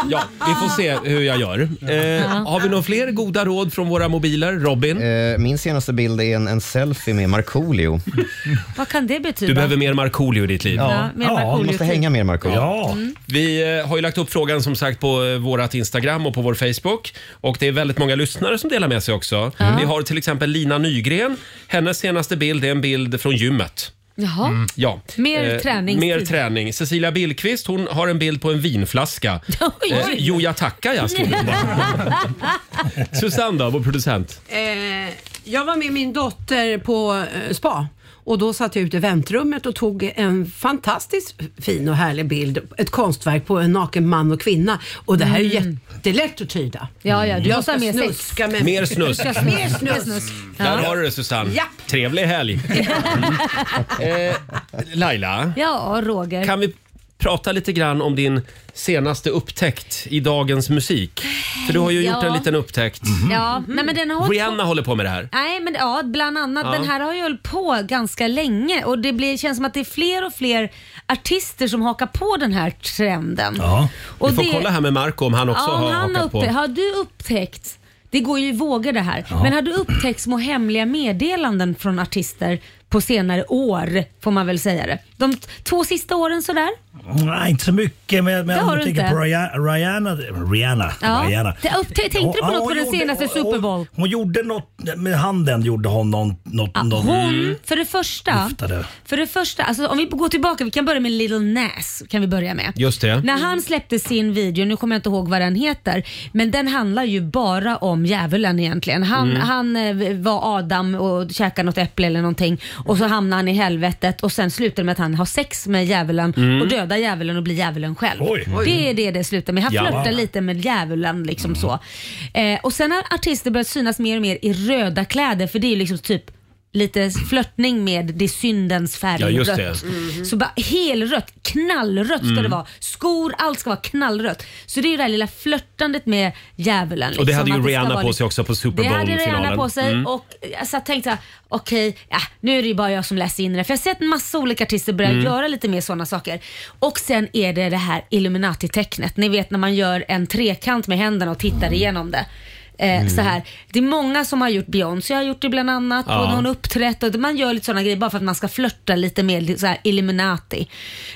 Ja, vi får se hur jag gör. Eh, har vi några fler goda råd från våra mobiler? Robin?
Eh, min senaste bild är en, en selfie med Markoolio.
Vad kan det betyda?
Du behöver mer Markoolio i ditt liv.
Typ Ja, Ja, mer ja, Markoolio vi måste i tid. hänga mer Markoolio.
Ja.
Vi eh, har ju lagt upp frågan som sagt på eh, vårat Instagram och på vår Facebook. Och det är väldigt många lyssnare som delar med sig också. Vi har till exempel Lina Nygren. Hennes senaste bild är en bild från gymmet.
Jaha.
Ja. Eh,
Mer träning.
Mer träning. Cecilia Billqvist hon har en bild på en vinflaska. Eh,
Oj.
jo, jag tackar jag. skriver hon bara. Susanne då, vår producent.
Eh, jag var med min dotter på eh, spa och då satt jag ute i väntrummet och tog en fantastiskt fin och härlig bild, ett konstverk på en naken man och kvinna. Och det här är ju jättelätt att tyda.
Mm. Ja, ja, du
jag
måste ha
ska
mer sex.
snuska med
Mer snus.
Jag ska snus. Mer snus.
Där har du det Susanne.
Ja.
Trevlig helg. Mm. Eh, Laila,
Ja, Roger.
kan vi prata lite grann om din senaste upptäckt i dagens musik? För du har ju gjort
Ja. Mm-hmm.
en liten upptäckt.
Ja, nej, men den har hållit
Mm. Rihanna håller på med det här.
Nej, men ja, bland annat.
Ja.
Den här har ju hållit på ganska länge och det blir, känns som att det är fler och fler artister som hakar på den här trenden.
Vi
Och
får
det-
kolla här med Marco om han också
ja, om
har
han
hakat
upptä-
på.
Har du upptäckt, det går ju i vågor det här, men har du upptäckt små hemliga meddelanden från artister på senare år, får man väl säga det. De t- två sista åren sådär.
Nej, inte så mycket. Men,
Det
men
har
om du
du
tänker
inte.
på Rihanna. Rihanna, Rihanna,
Ja.
Rihanna.
Te- upptä- Tänkte du på
Hon-
något
hon
på den
gjorde-
senaste
hon-
Super Bowl?
Hon gjorde något med handen. Gjorde hon någon, något, någon,
Hon, för det första,
Viftade.
för det första alltså, om vi går tillbaka, vi kan börja med Little Nas. Kan vi börja med.
Just det.
När han släppte sin video, nu kommer jag inte ihåg vad den heter, men den handlar ju bara om djävulen egentligen. Han,
Mm.
han eh, var Adam och käkade något äpple eller någonting och så hamnade han i helvetet och sen slutar det med att han har sex med djävulen
Mm.
och dödar djävulen och blir djävulen själv.
Oj. Oj.
Det är det det slutar med. Han
Ja. Mm.
flörtar lite med djävulen liksom så. Eh, och sen har artister börjat synas mer och mer i röda kläder för det är ju liksom typ lite flörtning med det är syndens färg,
Ja, just det.
rött.
Mhm.
Så bara helrött, knallrött ska
Mm.
det vara. Skor, allt ska vara knallrött. Så det är ju det här lilla flörtandet med djävulen.
Och det
liksom,
hade
att
ju
ska
Rihanna
vara
på
lite-
sig också på Super
Det hade
Bowl-finalen.
Rihanna på sig
Mm.
och eh, jag satt och tänkte såhär, okej, ja, nu är det ju bara jag som läser in det. För jag har sett en massa olika artister börja
Mm.
göra lite mer sådana saker. Och sen är det det här Illuminati-tecknet. Ni vet när man gör en trekant med händerna och
Mm.
tittar igenom det. Eh,
Mm.
så här. Det är många som har gjort Beyoncé, har gjort det bland annat,
Ja.
och hon har uppträtt och man gör lite sådana grejer bara för att man ska flörta lite med så här, Illuminati.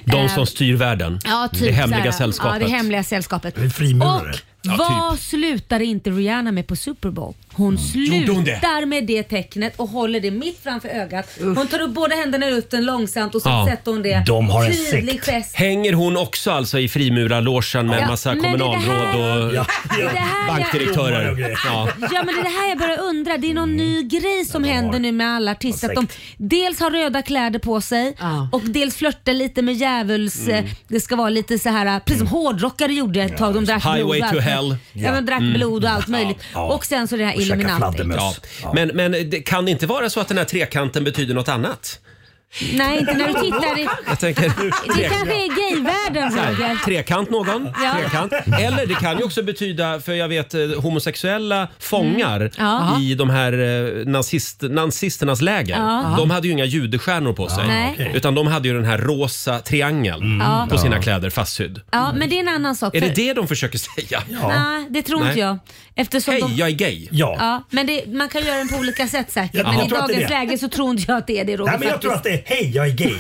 De
Eh,
som styr världen.
Ja, typ
det hemliga
så här.
sällskapet.
Ja, det hemliga sällskapet.
Det är frimurare.
Och
Ja, typ.
vad slutade inte Rihanna med på Super Bowl? Hon
Mm. Gjorde hon det?
slutar med det tecknet och håller det mitt framför ögat. Hon tar upp båda händerna i luften långsamt och så
Ja.
sätter hon det.
De har en
Tydlig gest.
Hänger hon också alltså i frimurarlogen med
Ja,
en massa
men det är det
kommunalråd
här-
och
Ja. Det är det här jag-
bankdirektörer? Ja. Mm.
Ja men det är det här jag börjar undra. Det är någon ny grej som händer nu med alla artister. Att de dels har röda kläder på sig och dels flörtar lite med djävuls...
Mm.
eh, Det ska vara lite så här, eh, precis som hårdrockare gjorde ett tag. De drack
Highway
blod och allt
to
möjligt.
hell.
Ja, de drack
Mm.
blod och allt möjligt. Och sen så det här Illuminati.
Ja. Men, men det, kan det inte vara så att den här trekanten betyder något annat?
Nej, inte när du tittar i...
Jag tänker,
Det kanske är gayvärlden
Så
Roger.
här, trekant någon.
Ja.
Trekant. Eller det kan ju också betyda, för jag vet eh, homosexuella fångar
Mm. Ja.
i de här eh, nazist, nazisternas läger.
Ja.
De hade ju inga judestjärnor på sig.
Nej. okej.
Utan de hade ju den här rosa triangeln
Ja.
på sina
Ja.
kläder fastsydd.
Ja, men det är en annan sak.
Är det
för-
det de försöker säga?
Nej, det tror inte
Nej.
jag. Eftersom
Hej,
de...
jag är gay.
Ja, men det, man kan göra den på olika sätt säkert.
Ja,
men
jag
i
tror att det är
dagens
det.
läge så tror inte jag att det är det Roger.
Nej, men jag
faktiskt.
tror att det säger hej jag är gay.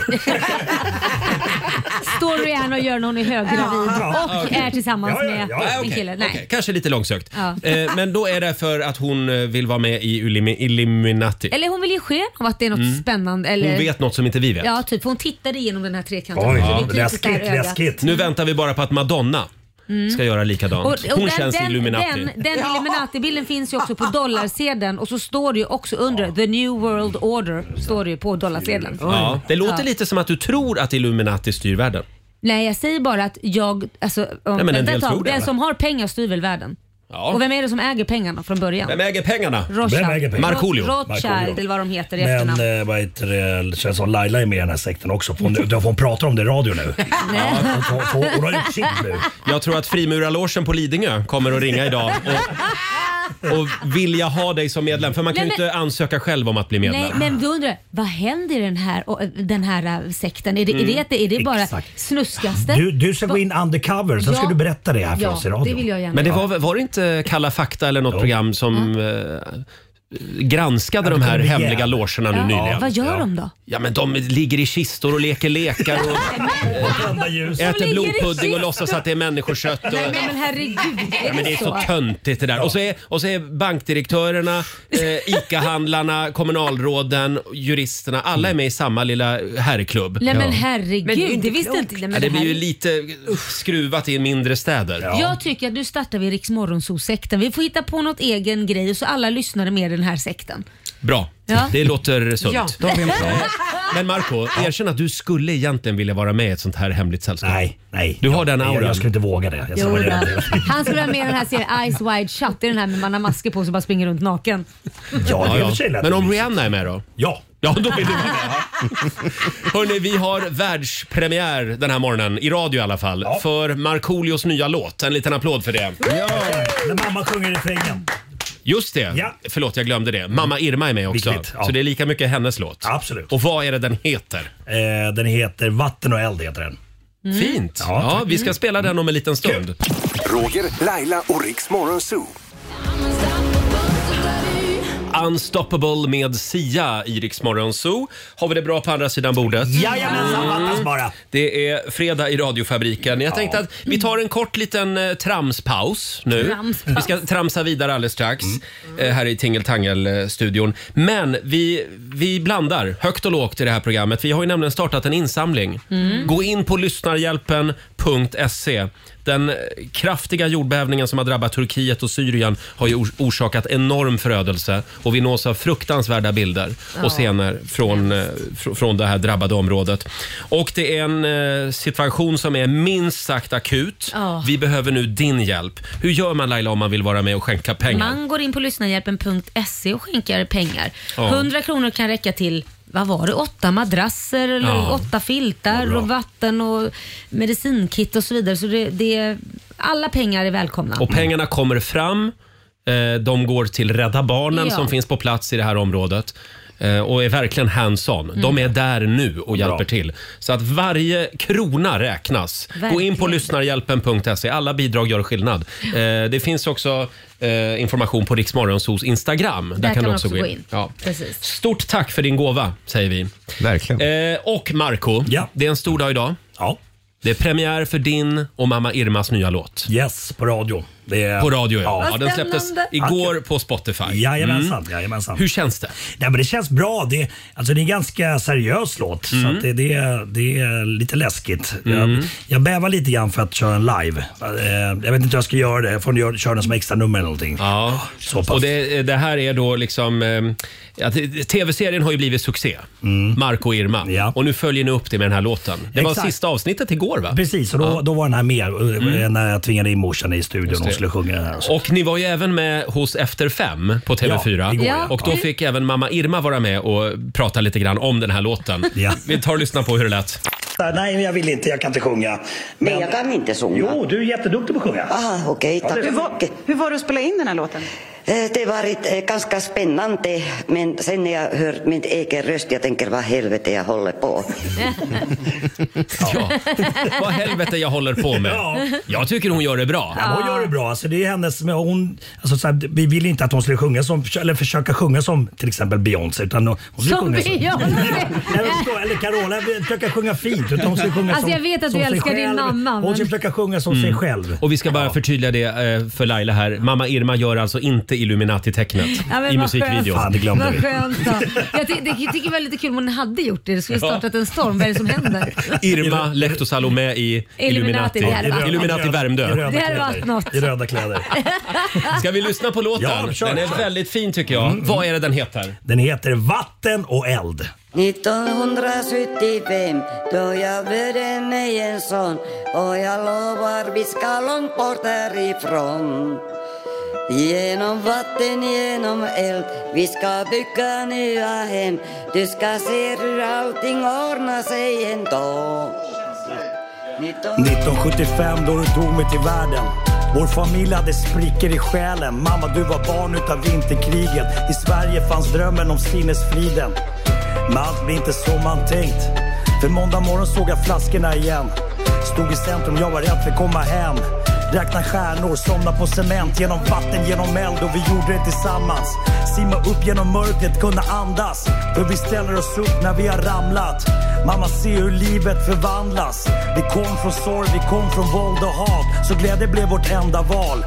Står du gärna och gör någon i höggravid
Ja.
och
Ja, okej.
är tillsammans
Ja, ja,
med
ja, ja.
en kille.
Okej,
Nej.
okej. Kanske lite långsökt.
Ja.
Eh, men då är det för att hon eh, vill vara med i Illumi- Illuminati.
Eller hon vill ge sken av att det är något
Mm.
spännande. Eller...
Hon vet något som inte vi vet.
Ja, typ. För hon tittade igenom den här trekanten.
Oj,
Så det kryper där ögat.
Nu väntar vi bara på att Madonna
Mm.
ska göra likadant. hon känns Illuminati.
Den, den Illuminati-bilden finns ju också på dollarsedeln och så står det ju också under The New World Order. Står det ju på dollarsedeln.
ja, det låter
Ja.
lite som att du tror att Illuminati styr världen.
Nej, jag säger bara att jag... Alltså, om,
men en
vänta
del
ett tag.
tror det,
den
va?
som har pengar styr väl världen?
Ja.
Och vem är det som äger pengarna från början?
Vem äger pengarna?
Rothschild.
Markoolio.
Roth- Rothschild
Markoolio.
eller vad de heter i efternamn.
Men eh, vad heter det, det känns som Laila är med i den här sekten också. Hon, hon pratar om det i radio nu. Ja, hon, hon, hon har utsikt nu.
Jag tror att frimurarlogen på Lidingö kommer att ringa idag och, och vilja ha dig som medlem. För man kan ju
Nej, men-
inte ansöka själv om att bli medlem.
Nej, men då undrar jag, vad händer i den här, och, eh, den här eh, sekten? Är det, är
Mm.
det, att det- är det bara
Exakt.
snuskaste?
Du, du ska gå in undercover, sen ska
Ja.
du berätta det här för
Ja,
oss i radio.
det vill jag gärna.
Men det var, var det inte Kalla fakta eller något program som eh, granskade de här
kommer igen.
hemliga logerna nu
Ja.
nyligen?
Vad gör de då?
Ja, men de ligger i kistor och leker lekar och äter blodpudding och låtsas att det är människokött. Och...
Nej, men herregud,
Ja, men det är så töntigt det där. Och, så är, och så är bankdirektörerna, eh, ICA-handlarna, kommunalråden, juristerna, alla är med i samma lilla herrklubb.
Nej men herregud,
Men det är ju
det,
inte
visste
klokt.
inte nej, men
Ja, det blir ju
här-
lite skruvat i mindre städer.
Jag tycker att nu startar vi Riks Morgonzoo-sekten. Vi får hitta på något egen grej och så alla lyssnare med i den här sekten.
Bra,
Ja.
det låter sunt.
Ja. Då har vi en plan.
Men Marco, erkänn att du skulle egentligen vilja vara med i ett sånt här hemligt sällskap. Nej,
nej.
Du har den auran.
jag skulle inte våga det.
Jo, då. Han skulle vara med i den här serien Eyes Wide Shut. Det är den här med man har masker på sig och bara springer runt naken.
Ja,
i och
ja.
för sig lät
Men om Rihanna är med då?
Ja.
Ja, då vill du vara med. Hörni, vi har världspremiär den här morgonen, i radio i alla fall, för Markoolios nya låt. En liten applåd för det.
När mamma sjunger refrängen.
Just det.
Ja.
Förlåt, jag glömde det. Mamma Irma är med också.
Viktigt, ja.
Så det är lika mycket hennes låt.
Absolut.
Och vad är det den heter?
Eh, den heter Vatten och eld. Heter den.
Mm. Fint. Ja, vi ska spela den om en liten stund.
Roger, Laila och Riks Morgonzoo.
Unstoppable med Sia i Rix Morgon Zoo. Har vi det bra på andra sidan bordet?
Jajamensan, fattas bara.
Det är fredag i radiofabriken. Jag tänkte att vi tar en kort liten eh, tramspaus nu.
Tramspaus.
Vi ska tramsa vidare alldeles strax eh, här i Tingeltangel-studion. Men vi, vi blandar högt och lågt i det här programmet. Vi har ju nämligen startat en insamling.
Mm.
Gå in på lyssnarhjälpen.se. Den eh, kraftiga jordbävningen som har drabbat Turkiet och Syrien har ju or- orsakat enorm förödelse och vi nås av fruktansvärda bilder
Ja.
och scener från, eh, fr- från det här drabbade området. Och det är en eh, situation som är minst sagt akut.
Ja.
Vi behöver nu din hjälp. Hur gör man Laila om man vill vara med och skänka pengar?
Man går in på lyssnarhjälpen.se E och skänker pengar.
Ja.
100 kronor kan räcka till vad var det? Åtta madrasser, eller
Ja.
åtta filtar, och vatten och medicinkit och så vidare. Så det, det, alla pengar är välkomna.
Och pengarna kommer fram. Eh, De går till Rädda Barnen
Ja.
som finns på plats i det här området. eh, Och är verkligen hands-on. De är där nu och hjälper till. Så att varje krona räknas. Gå in på
Verkligen.
lyssnarhjälpen.se. Alla bidrag gör skillnad. Eh, Det finns också eh, information på Riksmorgonsos Instagram. Där,
Där
kan du också, gå in. Ja.
Precis.
Stort tack för din gåva, säger vi. Verkligen. Eh, och Marco, det är en stor dag idag.
Ja.
Det är premiär för din och mamma Irmas nya låt.
Yes, på radio. Det är-
På radio, ja.
Ja.
ja. Den släpptes
Spännande.
igår på Spotify.
Jajamensan,
Mm.
jajamensan.
Hur känns det?
Nej, men det känns bra. Det, alltså, det är en ganska seriös låt, så
Mm.
att det, det, är- det är lite läskigt.
Mm.
Jag, jag bävar lite grann för att köra en live. Eh, jag vet inte hur jag ska göra det. Jag får göra- köra den som extra nummer eller någonting.
Ja.
Så pass.
Och det, det här är då liksom... eh, Att, TV-serien har ju blivit succé. Marco och Irma. Och nu följer ni upp det med den här låten. Det var
Mm. Exakt.
sista avsnittet igår va?
Precis, och då, då var den här med eh,
Mm.
när jag tvingade in morsan i studion
Just
och
det.
skulle sjunga den här.
Och ni var ju även med hos Efter fem på TV4.
Ja, igår, ja.
Och då
Ja.
fick även mamma Irma vara med och prata lite grann om den här låten. Vi tar och lyssnar på hur det lät.
Så här, Nej, jag vill inte. Jag kan inte sjunga. Men... Jag kan inte sjunga. Jo, du är jätteduktig på att sjunga.
Ah, okej,
Ja,
tack.
det-
hur, var, hur var det att spela in den här låten?
Eh, Det har varit eh, ganska spännande, men sen när jag hör min egen röst, jag tänker vad helvete jag håller på.
Ja. Vad helvete jag håller på med.
Ja.
Jag tycker hon gör det bra.
Ja, men hon gör det bra. Alltså, det är hennes, men hon, alltså, så här, vi ville inte att hon skulle sjunga som, eller försöka sjunga som till exempel Beyoncé. Utan hon skulle
Som
sjunga
Beyoncé.
Nej, men förstå, eller Carola, försöka sjunga fint. Utan hon skulle sjunga
Alltså,
som,
jag vet att
som
du
sig
älskar din
själv.
mamma,
Hon
men-
skulle försöka sjunga som
Mm.
sig själv.
Och vi ska bara förtydliga det eh, för Laila här. Mamma Irma gör alltså inte Illuminati-tecknet
Ja, men
i
vad
musikvideon.
skönt. vad Skönt då. Jag ty- det- jag tycker det var lite kul om hon hade gjort det. Det skulle
Ja.
startat en storm. Vad är det som händer?
Irma Lehtosalo med i Illuminati.
Illuminati, det hade varit-
Illuminati
I
Värmdö.
röda
Det hade
kläder.
varit något.
I röda kläder.
Ska vi lyssna på låten?
Ja, kör,
den är
kör.
väldigt fin tycker jag.
Mm.
Vad är det den heter?
Den heter Vatten och eld.
1975 då jag födde mig en son och jag lovar vi ska långt bort härifrån. Genom vatten, genom eld, vi ska bygga nya hem. Du ska se hur allting ordnar sig ändå.
1975 då du tog mig till världen vår familj hade sprickor i själen. Mamma, du var barn utav vinterkriget. I Sverige fanns drömmen om sinnesfriden. Men allt blev inte som man tänkt. För måndag morgon såg jag flaskorna igen. Stod i centrum, jag var rädd för att komma hem. Räkna stjärnor, somna på cement. Genom vatten, genom eld och vi gjorde det tillsammans. Simma upp genom mörkret, kunna andas. För vi ställer oss upp när vi har ramlat. Mamma, se hur livet förvandlas. Vi kom från sorg, vi kom från våld och hat. Så glädje blev vårt enda val.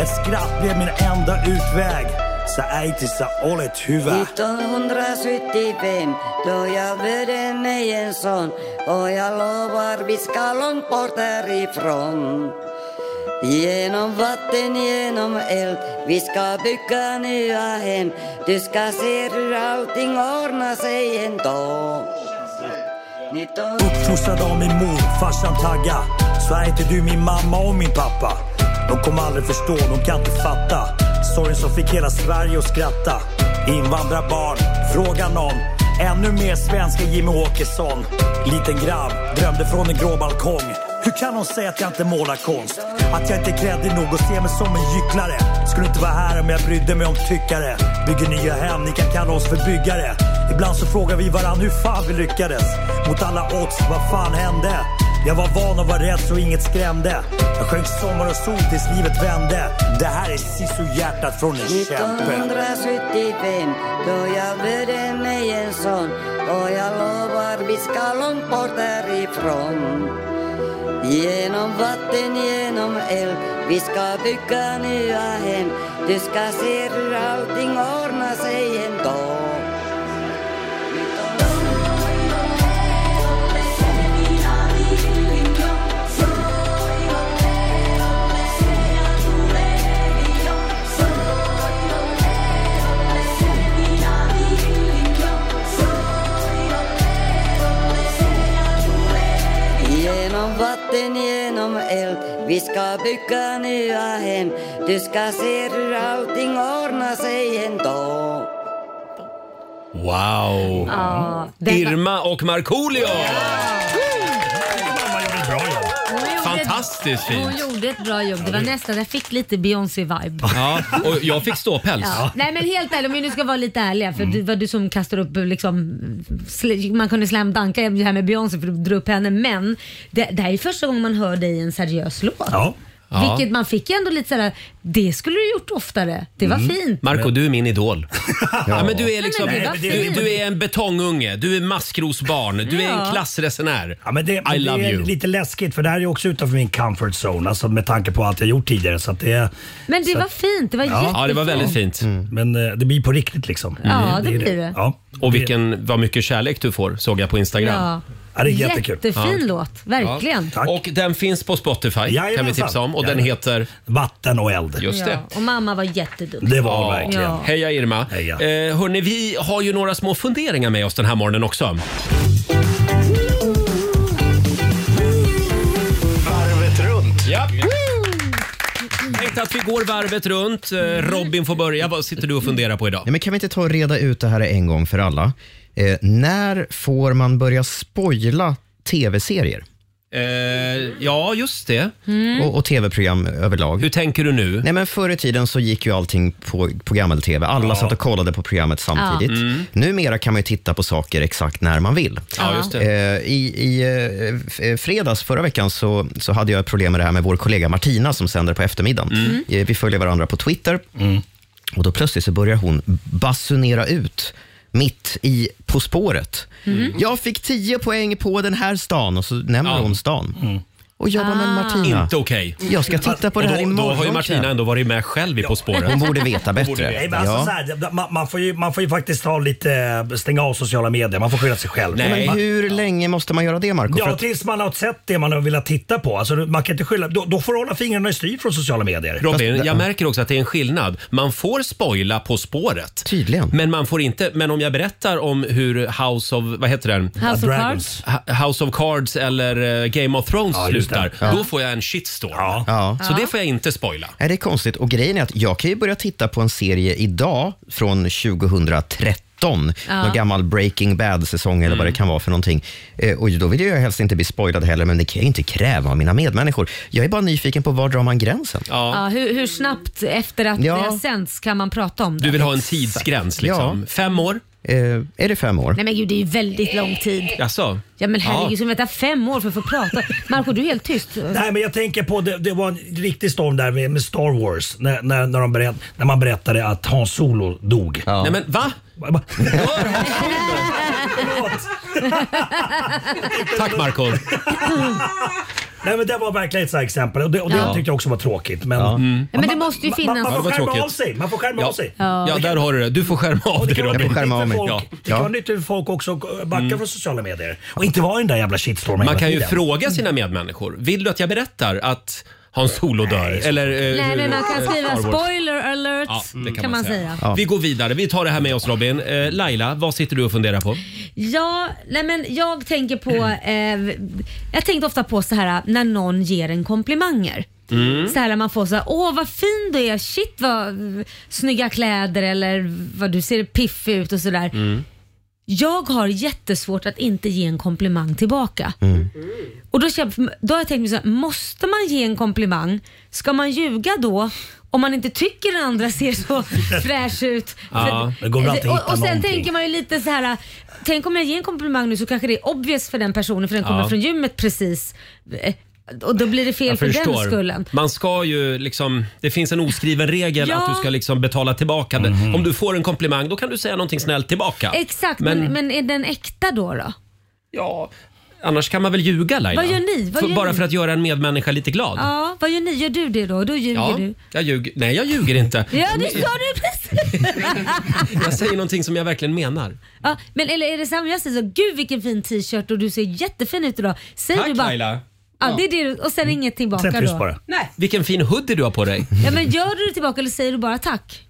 Ett skratt blev min enda utväg. Så ej till sa olet huvud.
1975 då jag födde mig en son och jag lovar vi ska långt bort härifrån. Genom vatten, genom eld, vi ska bygga nya hem. Du ska se hur allting ordnar sig ändå. 19...
Uppfostrad av min mor, farsan Tagga. Så är inte du min mamma och min pappa. De kommer aldrig förstå, de kan inte fatta. Sorgen som fick hela Sverige att skratta. Invandrarbarn, fråga någon. Ännu mer svensk än Jimmy Åkesson. Liten grabb, drömde från en grå balkong. Hur kan hon säga att jag inte målar konst? Att jag inte är kreddig nog och ser mig som en gycklare. Skulle inte vara här om jag brydde mig om tyckare. Bygger nya hem, ni kan kalla oss för byggare. Ibland så frågar vi varann hur fan vi lyckades. Mot alla odds, vad fan hände? Jag var van att vara rädd så inget skrämde. Jag sjöng sommar och sol tills livet vände. Det här är sisojärtat från en kämpe.
1975 då jag födde mig en son och jag lovar vi ska långt bort härifrån. Genom vatten, genom eld, vi ska bygga nya hem. Du ska se hur allting ordnar sig ändå. Genom vatten, genom eld, vi ska bygga nya hem. Du ska se hur allting ordnar sig ändå.
Wow!
Ja, den var-
Irma och Markoolio!
Hon gjorde-
Fantastiskt
Hon
fint!
gjorde ett bra jobb. Det var nästan, jag fick lite Beyoncé-vibe.
Ja, och jag fick ståpäls.
Ja. Nej men helt ärligt, om vi nu ska vara lite ärliga,
Mm.
för det var du som kastade upp liksom, sl- man kunde slamdanka det här med Beyoncé för att dra upp henne, men det, det här är första gången man hör dig i en seriös låt.
Ja. Ja.
Vilket man fick ändå lite såhär, det skulle du gjort oftare. Det var fint.
Mm. Marco, du är min idol. ja. men du är
Nej,
liksom,
men det var
du,
fint.
du är en betongunge, du är maskrosbarn, du är
Ja.
en klassresenär.
Ja, men det,
I
men
love
det är
you.
lite läskigt för det här är också utanför min comfort zone. Alltså med tanke på allt jag gjort tidigare. Så att det är,
Men det
så
var
att-
fint, det var jättefint.
fint.
Men eh, det blir på riktigt liksom.
Ja, det blir det.
Ja.
Och vilken, vad mycket kärlek du får, såg jag på Instagram.
Ja.
Ja, det är jättekul.
Jättefin
Ja.
låt, verkligen.
Och den finns på Spotify kan vi
Jajamensan.
tipsa om och den heter?
Vatten och eld.
Just det.
Ja. Och mamma var jätteduktig.
Det var hon
Ja.
verkligen.
Ja.
Heja Irma. Heja. Eh, hörni, vi har ju några små funderingar med oss den här morgonen också.
Varvet runt.
Ja. Tänkte att vi går varvet runt. Eh,
Mm.
Robin får börja. Vad sitter du och funderar på idag?
Nej, men kan vi inte ta och reda ut det här en gång för alla? Eh, när får man börja spoila tv-serier?
Eh, ja, just det.
Mm.
Och, och tv-program överlag. Hur
tänker du nu?
Nej, men förr i tiden så gick ju allting på, på gammel-tv. Alla satt och kollade på programmet samtidigt.
Ja. Mm.
Numera kan man ju titta på saker exakt när man vill.
Ja, just det.
Eh, I i eh, f- eh, fredags förra veckan så, så hade jag ett problem med det här med vår kollega Martina som sänder på eftermiddagen.
Mm.
Eh, Vi följer varandra på Twitter
Mm.
och då plötsligt så börjar hon basunera ut mitt i På spåret.
Mm.
Jag fick 10 poäng på den här stan och så nämner hon stan. Och jag bara,
Ah.
men Martina.
Mm. Inte okej.
Jag ska titta på
Och
det här
då,
imorgon.
Då har ju Martina
kanske.
ändå varit med själv i På spåret.
Hon borde veta bättre.
veta.
Nej, men alltså, så här, man, man, får ju, man får ju faktiskt ha lite, eh, stänga av sociala medier. Man får skylla sig själv.
Men
Man-
hur länge måste man göra det, Marco? För
Ja,
att-
tills man har sett det man har velat titta på. Alltså, man kan inte skylla, då, då får du hålla fingrarna i styr från sociala medier.
Robin, jag märker också att det är en skillnad. Man får spoila På spåret.
Tydligen.
Men man får inte, men om jag berättar om hur House of, vad heter den?
House of Dragons.
Ha- House of Cards eller eh, Game of Thrones
Ja, just det.
slutar,
Ja.
då får jag en shitstorm.
Ja.
Så det får jag inte spoila.
Nej, det är konstigt. Och grejen är att jag kan ju börja titta på en serie idag från 2013.
Ja.
Någon gammal Breaking Bad-säsong eller
Mm.
vad det kan vara för någonting. Eh, och då vill jag helst inte bli spoilad heller, men det kan jag ju inte kräva av mina medmänniskor. Jag är bara nyfiken på var drar man gränsen?
Ja, hur, hur snabbt efter att
Ja.
det har sänts kan man prata om det?
Du vill ha en tidsgräns liksom? Fem år?
är det fem år?
Nej men gud, det är ju väldigt lång tid.
Jaså?
Ja men herregud, ska vi vänta fem år för att få prata? Marco, du är helt tyst.
Nej, men jag tänker på, det, det var en riktig storm där med, med Star Wars. När, när, när, de berätt, när man berättade att Hans Solo dog.
Nej men va? Tack Marco
Nej men det var verkligen ett sådant exempel och det, och det
Ja.
tyckte jag också var tråkigt. Men,
Ja, men det måste ju finnas...
man, man får skärma av sig. Man får skärma
Mm. ja.
av sig.
Ja. där har du det. Du får skärma av dig Robin.
Ja.
Ja. Mm.
Det kan vara nyttigt för folk också att backa från sociala medier. Och inte vara i den där jävla shitstormen
Man
hela
kan ju
tiden.
fråga sina medmänniskor. Vill du att jag berättar att Hans Solo dör? Eller, eh,
Nej men man kan
eh,
skriva
Star Wars?
spoiler alert
Ja, det
kan, man säga.
Vi går vidare. Vi tar det här med oss Robin. Eh, Laila, vad sitter du och funderar på?
Ja, nej men jag tänker på... Eh, jag tänkte ofta på så här äh, när någon ger en komplimanger.
Mm.
Så här när man får så här, åh vad fin du är, shit vad snygga kläder eller vad du ser piffig ut och sådär.
Mm.
Jag har jättesvårt att inte ge en komplimang tillbaka. Och då, känner- då har jag tänkt mig så här, måste man ge en komplimang? Ska man ljuga då? Om man inte tycker den andra ser så fräsch ut.
Ja,
För-
det går väl alltid att
och,
hitta
och sen
någonting.
tänker man ju lite så här. Tänk om jag ger en komplimang nu så kanske det är obvious för den personen för den kommer
Ja.
från gymmet precis. Eh, Och då blir det fel
Jag
för den
förstår.
skullen.
Man ska ju liksom, det finns en oskriven regel
Ja.
att du ska liksom betala tillbaka. det. Om du får en komplimang då kan du säga någonting snällt tillbaka.
Exakt, men, men, är den äkta då? då?
Ja. Annars kan man väl ljuga Laila?
Vad gör ni? Vad
För-
gör
Bara
ni?
för att göra en medmänniska lite glad.
Ja, vad gör ni? Gör du det då? Då ljuger
Ja,
du.
jag ljuger. Nej, jag ljuger inte.
Ja, det sa du precis.
Jag säger någonting som jag verkligen menar.
ja, men eller är det samma? Jag säger så, gud vilken fin t-shirt och du ser jättefin ut idag. Säger
Tack
du bara,
Laila. Mm.
Ja, det är det du, och sen inget tillbaka då. Nej.
Vilken fin hoodie du har på dig.
Ja, men gör du det tillbaka eller säger du bara tack?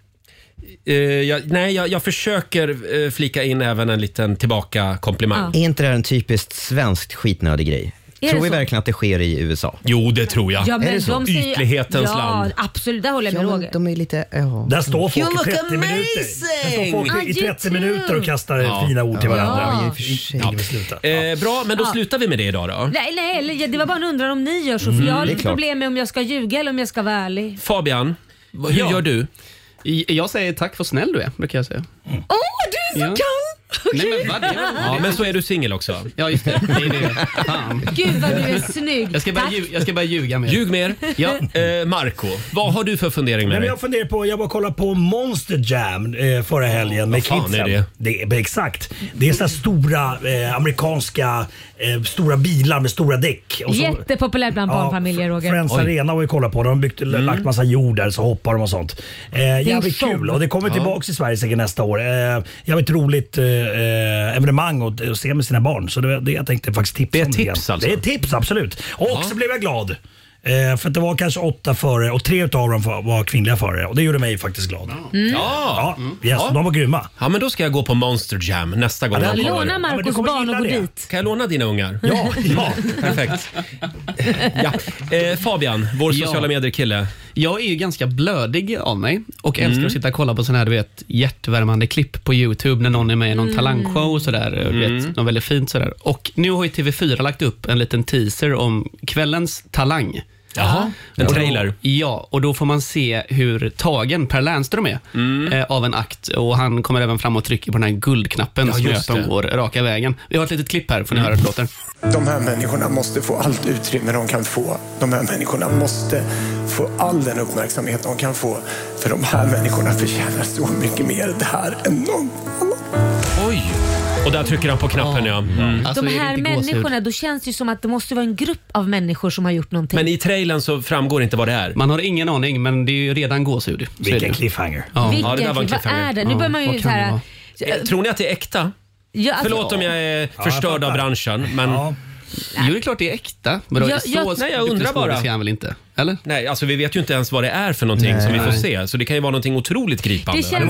Eh, jag, nej, jag, jag försöker eh, flika in även en liten tillbaka-komplimang.
Är inte det här en typiskt svensk skitnödig grej?
Är
tror
det
vi
så?
verkligen att det sker i USA?
Jo, det tror jag.
Ja, men
är det så?
de säger ju- ja, absolut. Där håller jag med Roger.
De är lite... Ja.
Där står
You
folk
look
i 30 minuter. Där står folk
amazing.
i
Ah, you
30
too.
minuter och kastar fina ord till varandra.
Ja. Ja,
Ja. Eh, bra, men då
Ja.
slutar vi med det idag då.
Nej, nej, eller, ja, det var bara en undran om ni gör så.
Mm,
för jag har
det är
lite
klart.
problem med om jag ska ljuga eller om jag ska vara ärlig.
Fabian, vad- hur gör du?
Jag säger tack för snäll du är, brukar jag säga.
Åh, du är så
Ja.
kall!
Nej, men vad det är.
Ja, men så är du singel också.
Ja, just det. det, är det. Fan.
Gud vad du är snygg.
Jag ska, börja
Tack.
lju- jag ska börja ljuga mer.
Ljug mer. Ja. Eh, Marco, vad har du för fundering
Nej,
med
men
dig?
jag funderar på, jag bara kollade på Monster Jam eh, förra helgen med
fan
kidsen.
är det?
Det är, exakt. Det är så här stora eh, amerikanska eh, stora bilar med stora däck. Och så,
Jättepopulärt bland barnfamiljer Roger.
Friends Arena var vi kollat på. De har byggt,
Mm.
lagt massa jord där så hoppar de och sånt. Eh,
en
jävligt
show.
kul och det kommer
Ja.
tillbaks i Sverige säkert nästa år. Eh, jävligt roligt eh, eh, evenemang att att se med sina barn. Så det var det jag tänkte faktiskt tipsa om. lite grann.
tips alltså?
Det är ett tips absolut. Och så blev jag glad. Eh, för att det var kanske åtta förare och tre utav dem var- var kvinnliga förare och det gjorde mig faktiskt glad.
Mm.
Ja,
Ja.
yes, de var grymma.
Ja, men då ska jag gå på Monster Jam nästa gång.
Ja,
de
det-
kommer.
Låna Marcos barn och gå dit.
Kan jag låna dina ungar?
Ja, ja.
Perfekt. Ja. Eh, Fabian, vår
Ja.
sociala medier-kille.
Jag är ju ganska blödig av mig och älskar att sitta och kolla på sådana här du vet, hjärtvärmande klipp på YouTube när någon är med i någon
Mm.
talangshow och sådär. Du
Mm.
Vet, något väldigt fint sådär. Och nu har ju TV4 lagt upp en liten teaser om kvällens talang.
Jaha, en
Och då-
trailer.
Ja, och då får man se hur tagen Per Lernström är
Mm.
Mm.
Mm.
eh, av en akt. Och Han kommer även fram och trycker på den här guldknappen
Ja,
som gör
just
att de
det.
går raka vägen. Vi har ett litet klipp här, får ni höra hur det låter.
De här människorna måste få allt utrymme de kan få. De här människorna måste få all den uppmärksamhet de kan få. För de här människorna förtjänar så mycket mer det här än någon
Oj! Och där trycker han på knappen ja. Mm.
De här människorna, då känns det ju som att det måste vara en grupp av människor som har gjort någonting.
Men i trailern så framgår inte vad det är.
Man har ingen aning, men det är ju redan gåshud. Vilken
cliffhanger.
Vilken klipp- Vad är det? Nu börjar man ju så här...
Eh, Tror ni att det är äkta?
Ja, alltså-
Förlåt om jag är
jag
förstörd av
fattar.
branschen, men...
Jo, det är klart det är äkta. Men
Jag-
så
jag- nej, jag
duktig
undrar bara.
skådis är han väl inte? Eller?
Nej, alltså vi vet ju inte ens vad det är för någonting
Nej.
som vi får
Nej.
se. Så det kan ju vara någonting otroligt gripande.
jag,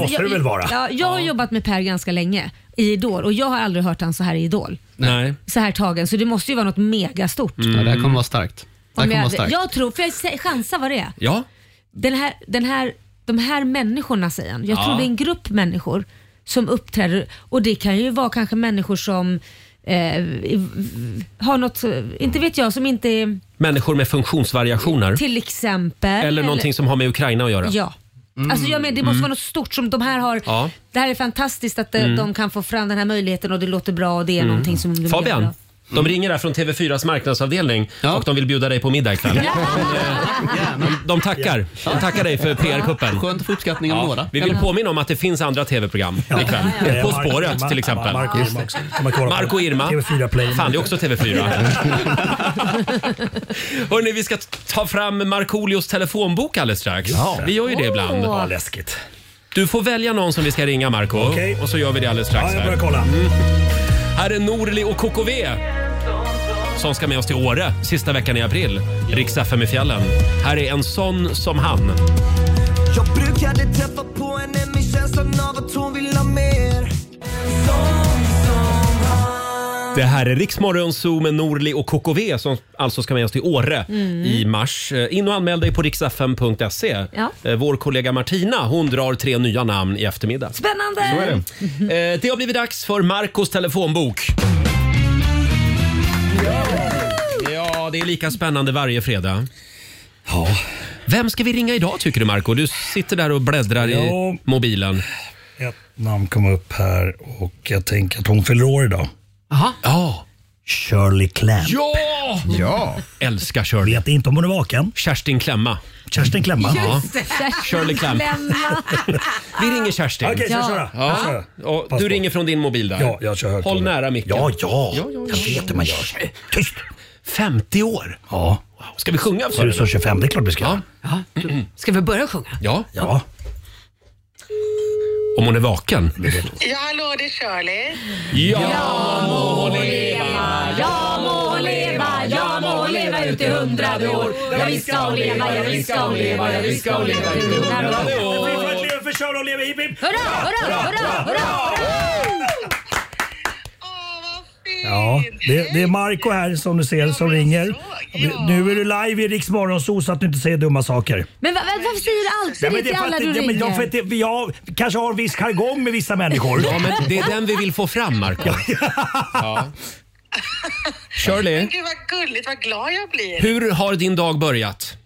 Ja, jag har jobbat med Per ganska länge i Idol och jag har aldrig hört han så här i Idol.
Nej.
Så här tagen, så det måste ju vara något megastort.
Ja, det här
Mm.
kommer vara starkt. Det här
Om
kommer vara
jag,
starkt.
jag tror, för jag sä- chansa vad det är.
Ja.
Den här, den här, de här människorna säger han. Jag
Ja.
tror det är en grupp människor som uppträder och det kan ju vara kanske människor som eh, i- har något, inte vet jag, som inte är
Människor med funktionsvariationer.
till exempel.
Eller någonting som har med Ukraina att göra.
Ja. Alltså jag menar, det måste
Mm.
vara något stort som de här har.
Ja.
Det här är fantastiskt att de,
Mm.
de kan få fram den här möjligheten och det låter bra och det är någonting som de gör
Fabian,
bra.
de ringer här från TV4s marknadsavdelning och de vill bjuda dig på middag ikväll. De, de tackar. De tackar dig för PR-kuppen.
Skönt att få uppskattning av några.
Vi vill
Eller?
påminna om att det finns andra TV-program ikväll.
Ja.
På
Marco
spåret
Irma.
till exempel.
Marco Irma också. Kan man kolla på
Marco Irma.
TV4 Play.
Fan, det är också TV4. Hörrni, vi ska ta fram Markoolios telefonbok alldeles strax.
Ja.
Vi gör ju det ibland.
Åh. Ja,
läskigt. Du får välja någon som vi ska ringa, Marco. Och så gör vi det alldeles strax.
Ja, jag börjar
här.
kolla.
Mm. Här är Norli och KKV som ska med oss till Åre sista veckan i april. Rix FM i fjällen. Här är en sån som han.
Jag brukade träffa på henne med känslan av att hon vill ha mer
Det här är Riksmorgon Zoo med Norli och KKV som alltså ska med oss till Åre
Mm.
i mars. Eh, In och anmäl dig på riksfm.se.
Ja.
Eh, Vår kollega Martina hon drar tre nya namn i eftermiddag.
Spännande!
Så är det. Eh, Det har blivit dags för Marcos telefonbok. Ja, det är lika spännande varje fredag. Ja. Vem ska vi ringa idag tycker du Marco? Du sitter där och bläddrar i
Ja.
mobilen.
Ett namn kom upp här och jag tänker att hon fyller år idag.
Aha.
Ja.
Shirley Clamp.
Ja!
Ja.
Älskar Shirley.
Vet inte om hon är vaken.
Kerstin Klämma.
Kerstin Klämma.
Just Shirley Clamp. Vi ringer Kerstin.
Okej, så jag kör jag.
Ja.
Jag kör.
Och du ringer från din mobil där.
Ja, jag kör högtalare.
Håll nära micken.
Ja, ja. Jag vet hur man gör. Tyst!
50 år?
Ja.
Ska vi sjunga för
för Du sa
henne?
25, det är klart vi ska.
Ska vi börja sjunga?
Ja. ja. Om hon är vaken.
Ja, hallå, det är Shirley.
Ja, må hon
leva, ja må hon leva, ja må hon leva ut i hundrade år Ja visst ska hon leva, ja visst ska hon leva, ja visst ska hon leva ut i hundrade år
Leva för Shirley och leva hipp hipp!
Hurra, hurra, hurra, hurra!
Ja, det, det är Marco här som du ser som ringer. Nu är du live i Rix Morgonzoo så att du inte säger dumma saker.
Men va, va, varför säger du alltid det till
för
alla
att-
du
ja, men
ringer?
jag, för att det- jag kanske har en viss jargong med vissa människor.
Ja, men det är den vi vill få fram, Marco. Ja. Shirley,
Men gud vad gulligt, vad glad jag blir.
hur har din dag börjat?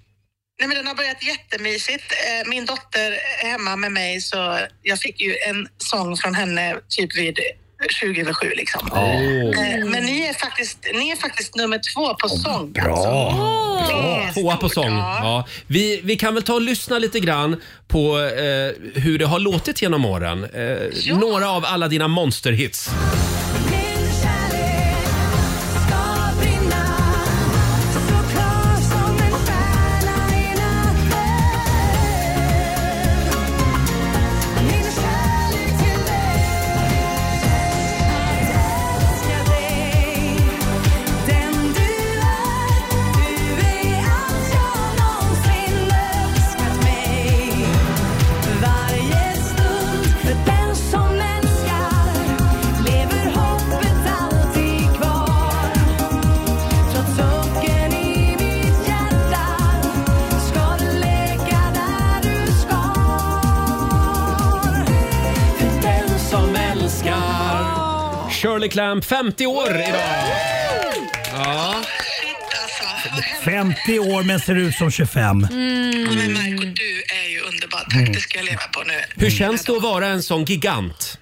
Nej, men den har börjat jättemysigt. Eh, Min dotter är hemma med mig så jag fick ju en sång från henne typ vid 20 över sju liksom.
Åh.
Eh, Men ni är, faktiskt, ni är faktiskt nummer två på sång. Alltså.
Bra!
Bra.
Tvåa på sång. Ja. Vi, vi kan väl ta och lyssna lite grann på eh, hur det har låtit genom åren. Eh, Några av alla dina monsterhits.
Varje stund för den som älskar lever
Shirley Clamp, 50 år idag! Ja.
50 år men ser ut som 25.
Mm. Men Marco, du är ju underbar. Tack,
Mm.
det ska jag leva på nu.
Hur känns det att vara en sån gigant?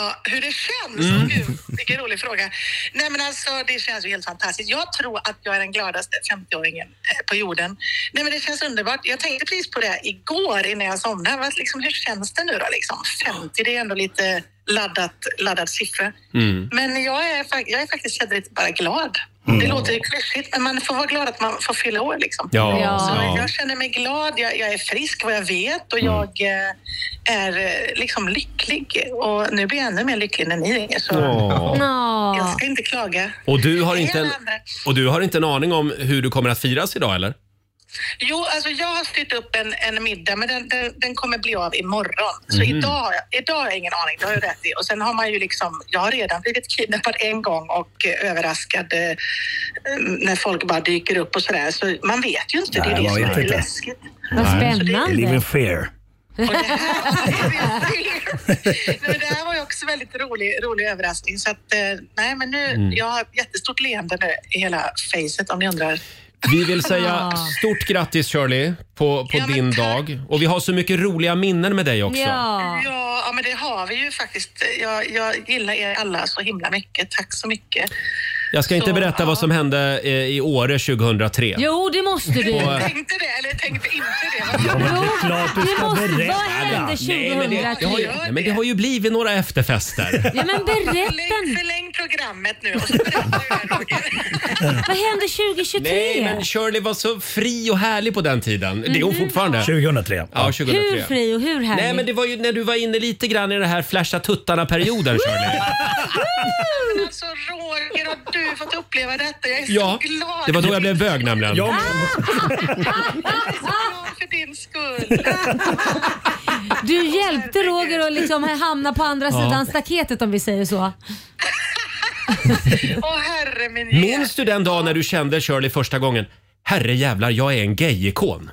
Ja, hur det känns?
Mm.
Gud, vilken rolig fråga. Nej, men alltså, det känns ju helt fantastiskt. Jag tror att jag är den gladaste 50-åringen eh, på jorden. Nej, men det känns underbart. Jag tänkte precis på det igår innan jag somnade. Vad, Liksom, hur känns det nu då? Liksom, 50, det är ändå lite laddat, laddad siffra.
Mm.
Men jag är, fa- jag är faktiskt jädrigt bara glad. Det låter ju klyschigt, men man får vara glad att man får fylla år. Liksom.
Ja, Ja.
Så
ja. Mm.
Jag känner mig glad, jag, jag är frisk vad jag vet och jag eh, är eh, liksom lycklig. Och nu blir jag ännu mer lycklig när ni ringer. Så
Åh.
Jag ska inte klaga.
Och du, har inte en,
Hej, Amanda.
och du har inte en aning om hur du kommer att firas idag eller?
Jo, alltså jag har styrt upp en, en middag, men den, den, den kommer bli av imorgon. Så
Mhm.
idag, har jag- idag har jag ingen aning, det har du rätt i. Och sen har man ju liksom, jag har redan blivit kidnappad en gång och eh, överraskad eh, eh, när folk bara dyker upp och sådär. Så man vet ju inte, det är
Nej,
det
man
som
vet
är
inte.
läskigt.
Vad
spännande.
Living fear.
Men det här var ju också väldigt rolig, rolig överraskning. Så att, eh, nej, men nu,
Mm.
jag har ett jättestort leende nu i hela facet om ni undrar.
Vi vill säga
Ah.
stort grattis Shirley på, på din dag. Och vi har så mycket roliga minnen med dig också.
Ja. Ja, men det har vi ju faktiskt. Jag, jag gillar er alla så himla mycket. Tack så mycket.
Jag ska inte
Så,
berätta vad som hände eh, i Åre 2003.
Jo, det måste du.
Och, eh,
Tänkte det eller tänkte inte det?
klart
du ska måste- berätta. vad hände
Nej, men det, det, har ju,
2003?
nej, men det har ju blivit några efterfester.
Ja, men berätta.
Förläng programmet nu.
Vad hände 2023?
Nej, men Shirley var så fri och härlig på den tiden. Det är hon
Mhm.
fortfarande.
2003.
Ja, 2003.
Hur fri och hur härlig?
Nej, men det var ju när du var inne lite grann i det här flasha tuttarna-perioden, Shirley.
Men alltså Roger, har du fått uppleva detta? Jag är
Ja,
så glad.
det var då jag blev bög nämligen.
Jag är så glad för din skull.
Du hjälpte Roger att liksom hamna på andra
Ja.
sidan staketet om vi säger så.
Åh herre min
Minns du den dag när du kände Shirley första gången? Herre jävlar, jag är en gayikon.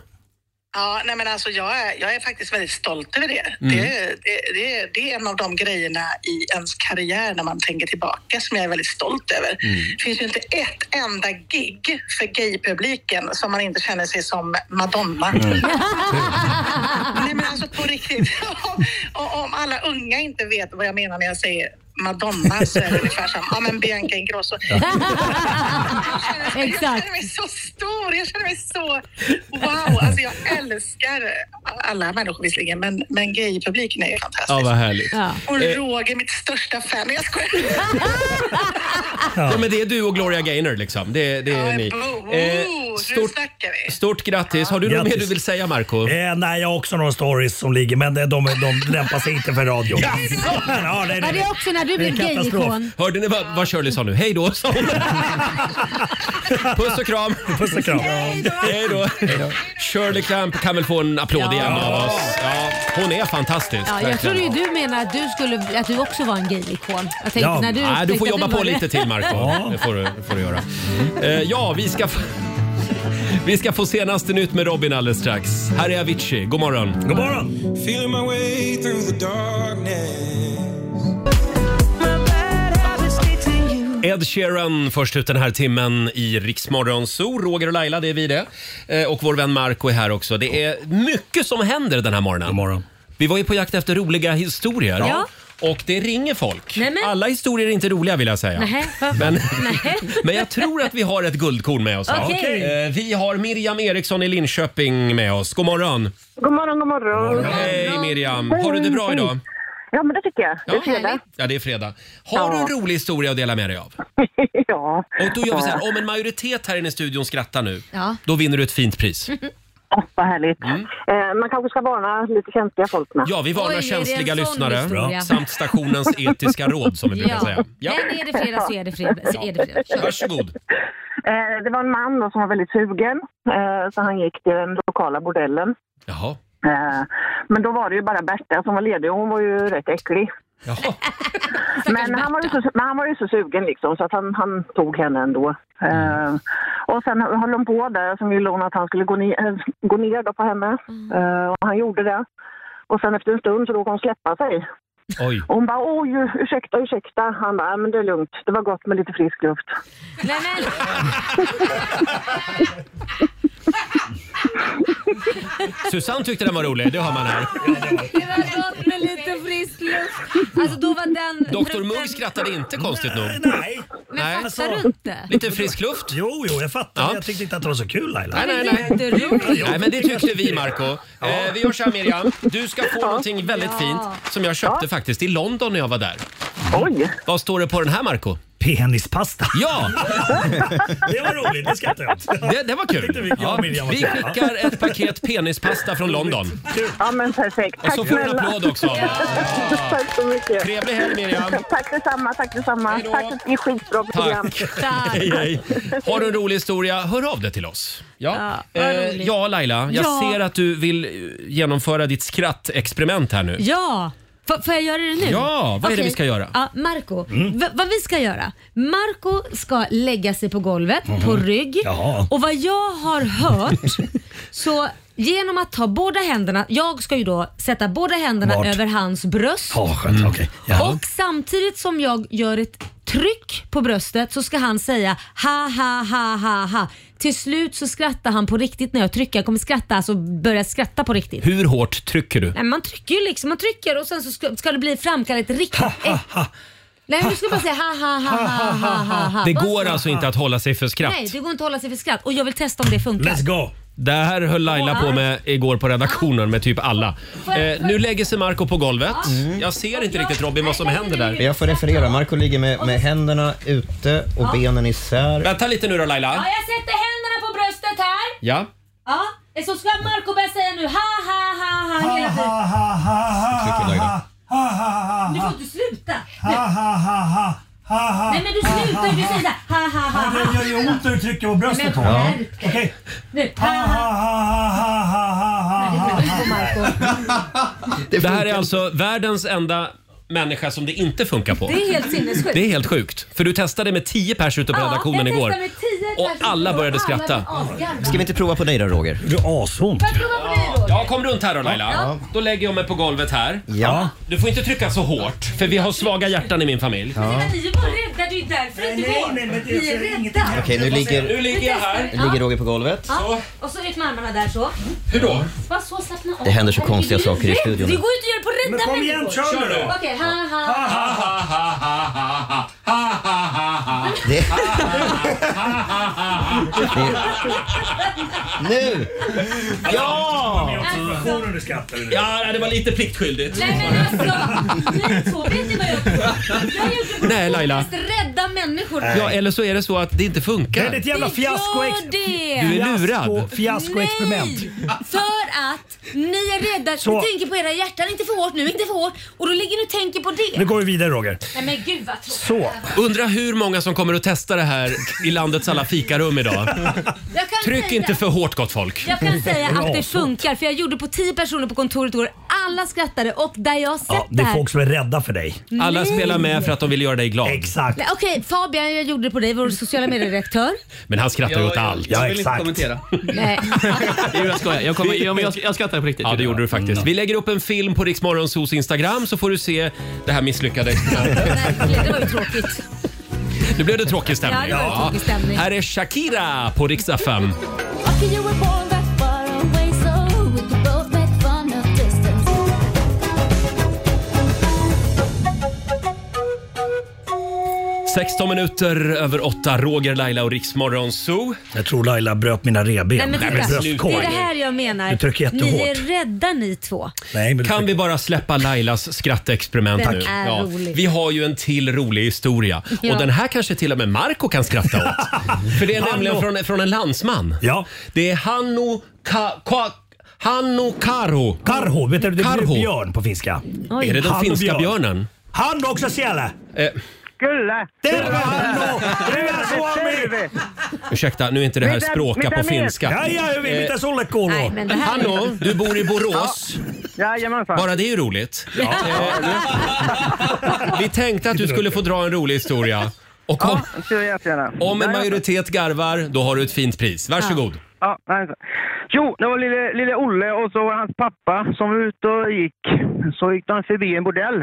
Ja, nej men alltså jag är, jag är faktiskt väldigt stolt över det.
Mm.
Det, det, det. det är en av de grejerna i ens karriär när man tänker tillbaka som jag är väldigt stolt över.
Mm.
Det finns ju inte ett enda gig för gaypubliken som man inte känner sig som Madonna.
Mm.
nej men alltså på riktigt. och om alla unga inte vet vad jag menar när jag säger Madonna så är det ungefär som ja, men Bianca Ingrosso. Jag känner mig så stor, jag känner mig så wow. Alltså jag älskar alla människor visserligen, men, men gaypubliken är ju fantastisk.
Alltså,
Ja, vad härligt.
Och
Eh,
Roger, mitt största fan. Nej, Jag skojar.
Ja. men det är du och Gloria Gaynor liksom. Det, det är ni. Eh,
Oh, nu snackar vi.
Stort grattis. Har du något
Grattis.
mer du vill säga Marco?
Eh, nej, jag har också några stories som ligger, men de, de, de lämpar sig inte för radio.
Ja,
nej,
Var det också när du
Det är
blev
katastrof.
gayikon?
Hörde ni vad, vad Shirley sa nu? Hej då, sa hon. Puss och kram.
Puss och kram.
Hej då. Shirley Clamp kan väl få en applåd igen av oss. Ja, hon är fantastisk.
Ja, jag
verkligen.
trodde ju du menar att du, skulle, att du också var en gayikon. Jag tänkte när du
Nej, du
upptäckte
får
att
jobba på
var det.
lite till Marco. Det får du, det får du göra. Eh, ja, vi ska, få, vi ska få senaste nytt med Robin alldeles strax. Här är Avicii. God morgon.
God morgon.
Feeling my way through the darkness.
Ed Sheeran först ut den här timmen i Riksmorgon Zoo. Roger och Laila, det är vi det. Eh, Och vår vän Marco är här också. Det är mycket som händer den här morgonen. Vi var ju på jakt efter roliga historier.
Ja.
Och det ringer folk.
Nej, men-
Alla historier är inte roliga vill jag säga.
Nähä, va?
Men,
Nähä.
men jag tror att vi har ett guldkorn med oss. här.
Okej.
Eh, Vi har Miriam Eriksson i Linköping med oss. God morgon!
God morgon, god morgon.
Hej Miriam! Har du det bra idag?
Ja, men det tycker jag. Det är fredag.
Ja, det är fredag. Har du en
Ja.
rolig historia att dela med dig av?
ja.
Och då gör vi så här, om en majoritet här inne i studion skrattar nu,
Ja.
då vinner du ett fint pris.
Åh, vad härligt. Eh, man kanske ska varna lite känsliga folk med.
Mm. Ja, vi varnar
Oj, är det en
känsliga
sån
lyssnare
historia?
samt stationens etiska råd som vi brukar säga.
Ja. Men är det fredag så är det fredag. Så är det fredag. Kör.
Varsågod.
Eh, det var en man då som var väldigt sugen, eh, så han gick till den lokala bordellen.
Jaha.
Eh, men då var det ju bara Berta som var ledig och hon var ju rätt äcklig. Men han, var ju så, men han var ju så sugen liksom, så att han, han tog henne ändå. Eh, och sen höll de på där, sen ville hon att han skulle gå ner, eh, gå ner då på henne. Eh, och han gjorde det. Och sen efter en stund så råkade hon släppa sig.
Oj.
Och hon bara, oj, ursäkta, ursäkta. Han bara, "Ja, men det är lugnt. Det var gott med lite frisk luft.
Nej, men.
Susanne tyckte den var rolig, det har man här.
Det var gott med lite frisk luft. Alltså då var den...
Dr Mugg skrattade inte konstigt nog.
Nej.
Men
Nej. Alltså,
fattar du inte?
Lite frisk luft?
Jo, jo, jag fattar.
Ja.
men Jag tyckte inte att det var så kul Laila.
Nej, nej, nej. Nej, men det tyckte vi Marco. Eh, vi gör så här Miriam, du ska få någonting väldigt fint som jag köpte faktiskt i London när jag var där.
Oj!
Vad står det på den här Marco?
Penispasta.
Ja!
Det var roligt, det skrattar jag åt.
Det, det var
Tyckte vi,
kul.
jag och
Ja,
Miriam var
vi
kul,
skickar
ja.
ett paket penispasta från London.
Ja, men perfekt.
Och
Tack
så får du en
snälla.
applåd också av oss.
Tack så mycket.
Trevlig helg, Miriam.
Tack detsamma, tack detsamma. Tack för ett skitbra program.
Tack! Hej, hej. Har du en rolig historia, hör av dig till oss. Ja,
Ja, vad
Eh,
roligt.
ja Laila, jag
Ja.
ser att du vill eh, genomföra ditt skrattexperiment här nu.
Ja! F- får jag göra det nu?
Ja, vad är det
Okej.
vi ska göra?
Ja, Marco,
Mm.
v- vad vi ska göra? Marco ska lägga sig på golvet,
Mhm.
på rygg.
Jaha.
Och vad jag har hört, så genom att ta båda händerna, jag ska ju då sätta båda händerna
Vart?
över hans bröst.
Ja, skönt. Okej. Ja.
Och samtidigt som jag gör ett tryck på bröstet så ska han säga ha ha ha ha ha. Till slut så skrattar han på riktigt när jag trycker. Jag kommer skratta, alltså börja skratta på riktigt.
Hur hårt trycker du?
Nej, man trycker ju liksom, man trycker och sen så ska, ska det bli framkalla ett riktigt... Nej, men du ska bara säga ha ha ha ha ha ha. ha.
Det
Bara
går
så.
alltså inte att hålla sig för skratt.
Nej, det går inte att hålla sig för skratt och jag vill testa om det funkar.
go! Det här höll Laila på med igår på redaktionen med typ alla. Eh, nu lägger sig Marco på golvet. Jag ser inte riktigt Robin vad som händer där.
Jag får referera. Marco ligger med, med händerna ute och
Ja.
benen isär.
Vänta lite nu då
Ja,
Laila.
jag sätter händerna på bröstet här.
Ja.
Ja, så ska Marco börja säga nu ha ha ha ha hela tiden.
Ah,
Men Du får inte sluta. Nej men du slutar ju, du säger såhär ha ha ha
Ja,
ha.
ah, Det gör ju ont när du trycker på bröstet.
Men
Tom.
skärp dig.
Okej.
Nu, ha ha ha ha ha ha.
Det här är alltså världens enda människa som det inte funkar på.
Det är helt sinnessjukt.
Det är helt sjukt. För du testade med 10 pers ute på redaktionen
jag
igår.
testade med tio
Och
personer
alla började
och alla blev
skratta.
asgarva.
inte prova på dig då Roger?
Du har asont.
Ja, kom runt här då Laila. Då lägger jag mig på golvet här. Ja. Du får inte trycka så hårt, för vi har svaga hjärtan i min familj.
Ni var rädda, det är ju därför det inte går. Ni är rädda.
Okej, nu ligger,
Nu ligger jag här.
Ja.
ligger Roger på golvet.
Ja. Och så ut med armarna där så.
Hur då?
Bara så slappna av.
Det händer så konstiga saker i
Det går
studion.
ju inte att göra på rädda
Men kom igen,
människor.
kör nu då.
Okej, ha ha ha.
Det... Nu! Ja!
Ja, det var lite pliktskyldigt.
Nej men alltså, ni två vet ni vad jag tror? Jag gjorde på
Nej, Laila.
mest rädda människor.
Ja, eller så är det så att det inte
Det
funkar.
är ett jävla
Det gör
fiasko. ex-
det.
Du är lurad.
Fiasko- Fiaskoexperiment.
För att ni är rädda,
Så.
ni tänker på era hjärtan, inte för hårt nu, inte för hårt. Och då ligger ni och tänker på det.
Nu går vi vidare Roger.
Nej men gud vad tråkigt.
Så.
Undra hur många som kommer att testa det här i landets alla fikarum idag.
Jag kan
Tryck
säga-
inte för hårt gott folk.
Jag kan säga att det funkar för jag gjorde på 10 personer på kontoret igår. Alla skrattade och där jag har sett
Ja, det
här.
är folk som är rädda för dig.
Alla spelar med för att de vill göra dig glad.
Exakt.
Nej, Okej Fabian, jag gjorde det på dig, vår sociala medieredaktör.
Men han skrattar ju åt allt.
Jag vill inte kommentera.
Nej.
Jo, jag skojar. Jag, kommer, jag, jag, jag skrattar på riktigt.
Ja, det gjorde du faktiskt. Vi lägger upp en film på Riksmorgonsos Instagram så får du se det här misslyckade experimentet.
Verkligen, det var ju tråkigt.
Nu blev det tråkig stämning.
Ja, det var tråkig stämning.
Här är Shakira på Rix FM.
Okay, you were born that far away, so we could both make fun of distance.
Mm. 16 minuter över 8, Roger, Laila och Riksmorgon Zoo.
Jag tror Laila bröt mina revben.
Nej,
Nej,
men titta,
men
det
bröstkorg.
är det här jag menar.
Du trycker jättehårt.
Ni är rädda ni två.
Kan vi bara släppa Lailas skrattexperiment
Den
nu?
är rolig.
Vi har ju en till rolig historia.
Ja.
Och den här kanske till och med Marco kan skratta åt. För det är nämligen från, från en landsman. Ja. Det är Hanno Ka... Ka Hanno Karho.
Karho, vet du det betyder
Karho.
björn på finska.
Oj. Är det den
Han och
finska
björn.
björnen?
Han också Själe!
Eh,
Gulle! Det var han då! Det är Suomi!
ursäkta, nu är inte det här
Mitä-
språka
mitä
på
mies?
finska.
Ja, ja, hyvin. Mitä sulle kuuluu? Nej, men det här-
Hanno, du bor i Borås.
Jajamensan.
Bara det är ju roligt.
Ja.
Vi tänkte att du skulle få dra en rolig historia. Och om, om en majoritet garvar, då har du ett fint pris. Varsågod.
Ja, nej, så. Jo, det var lille, lille Olle och så var hans pappa som var ute och gick. Så gick de förbi en bordell.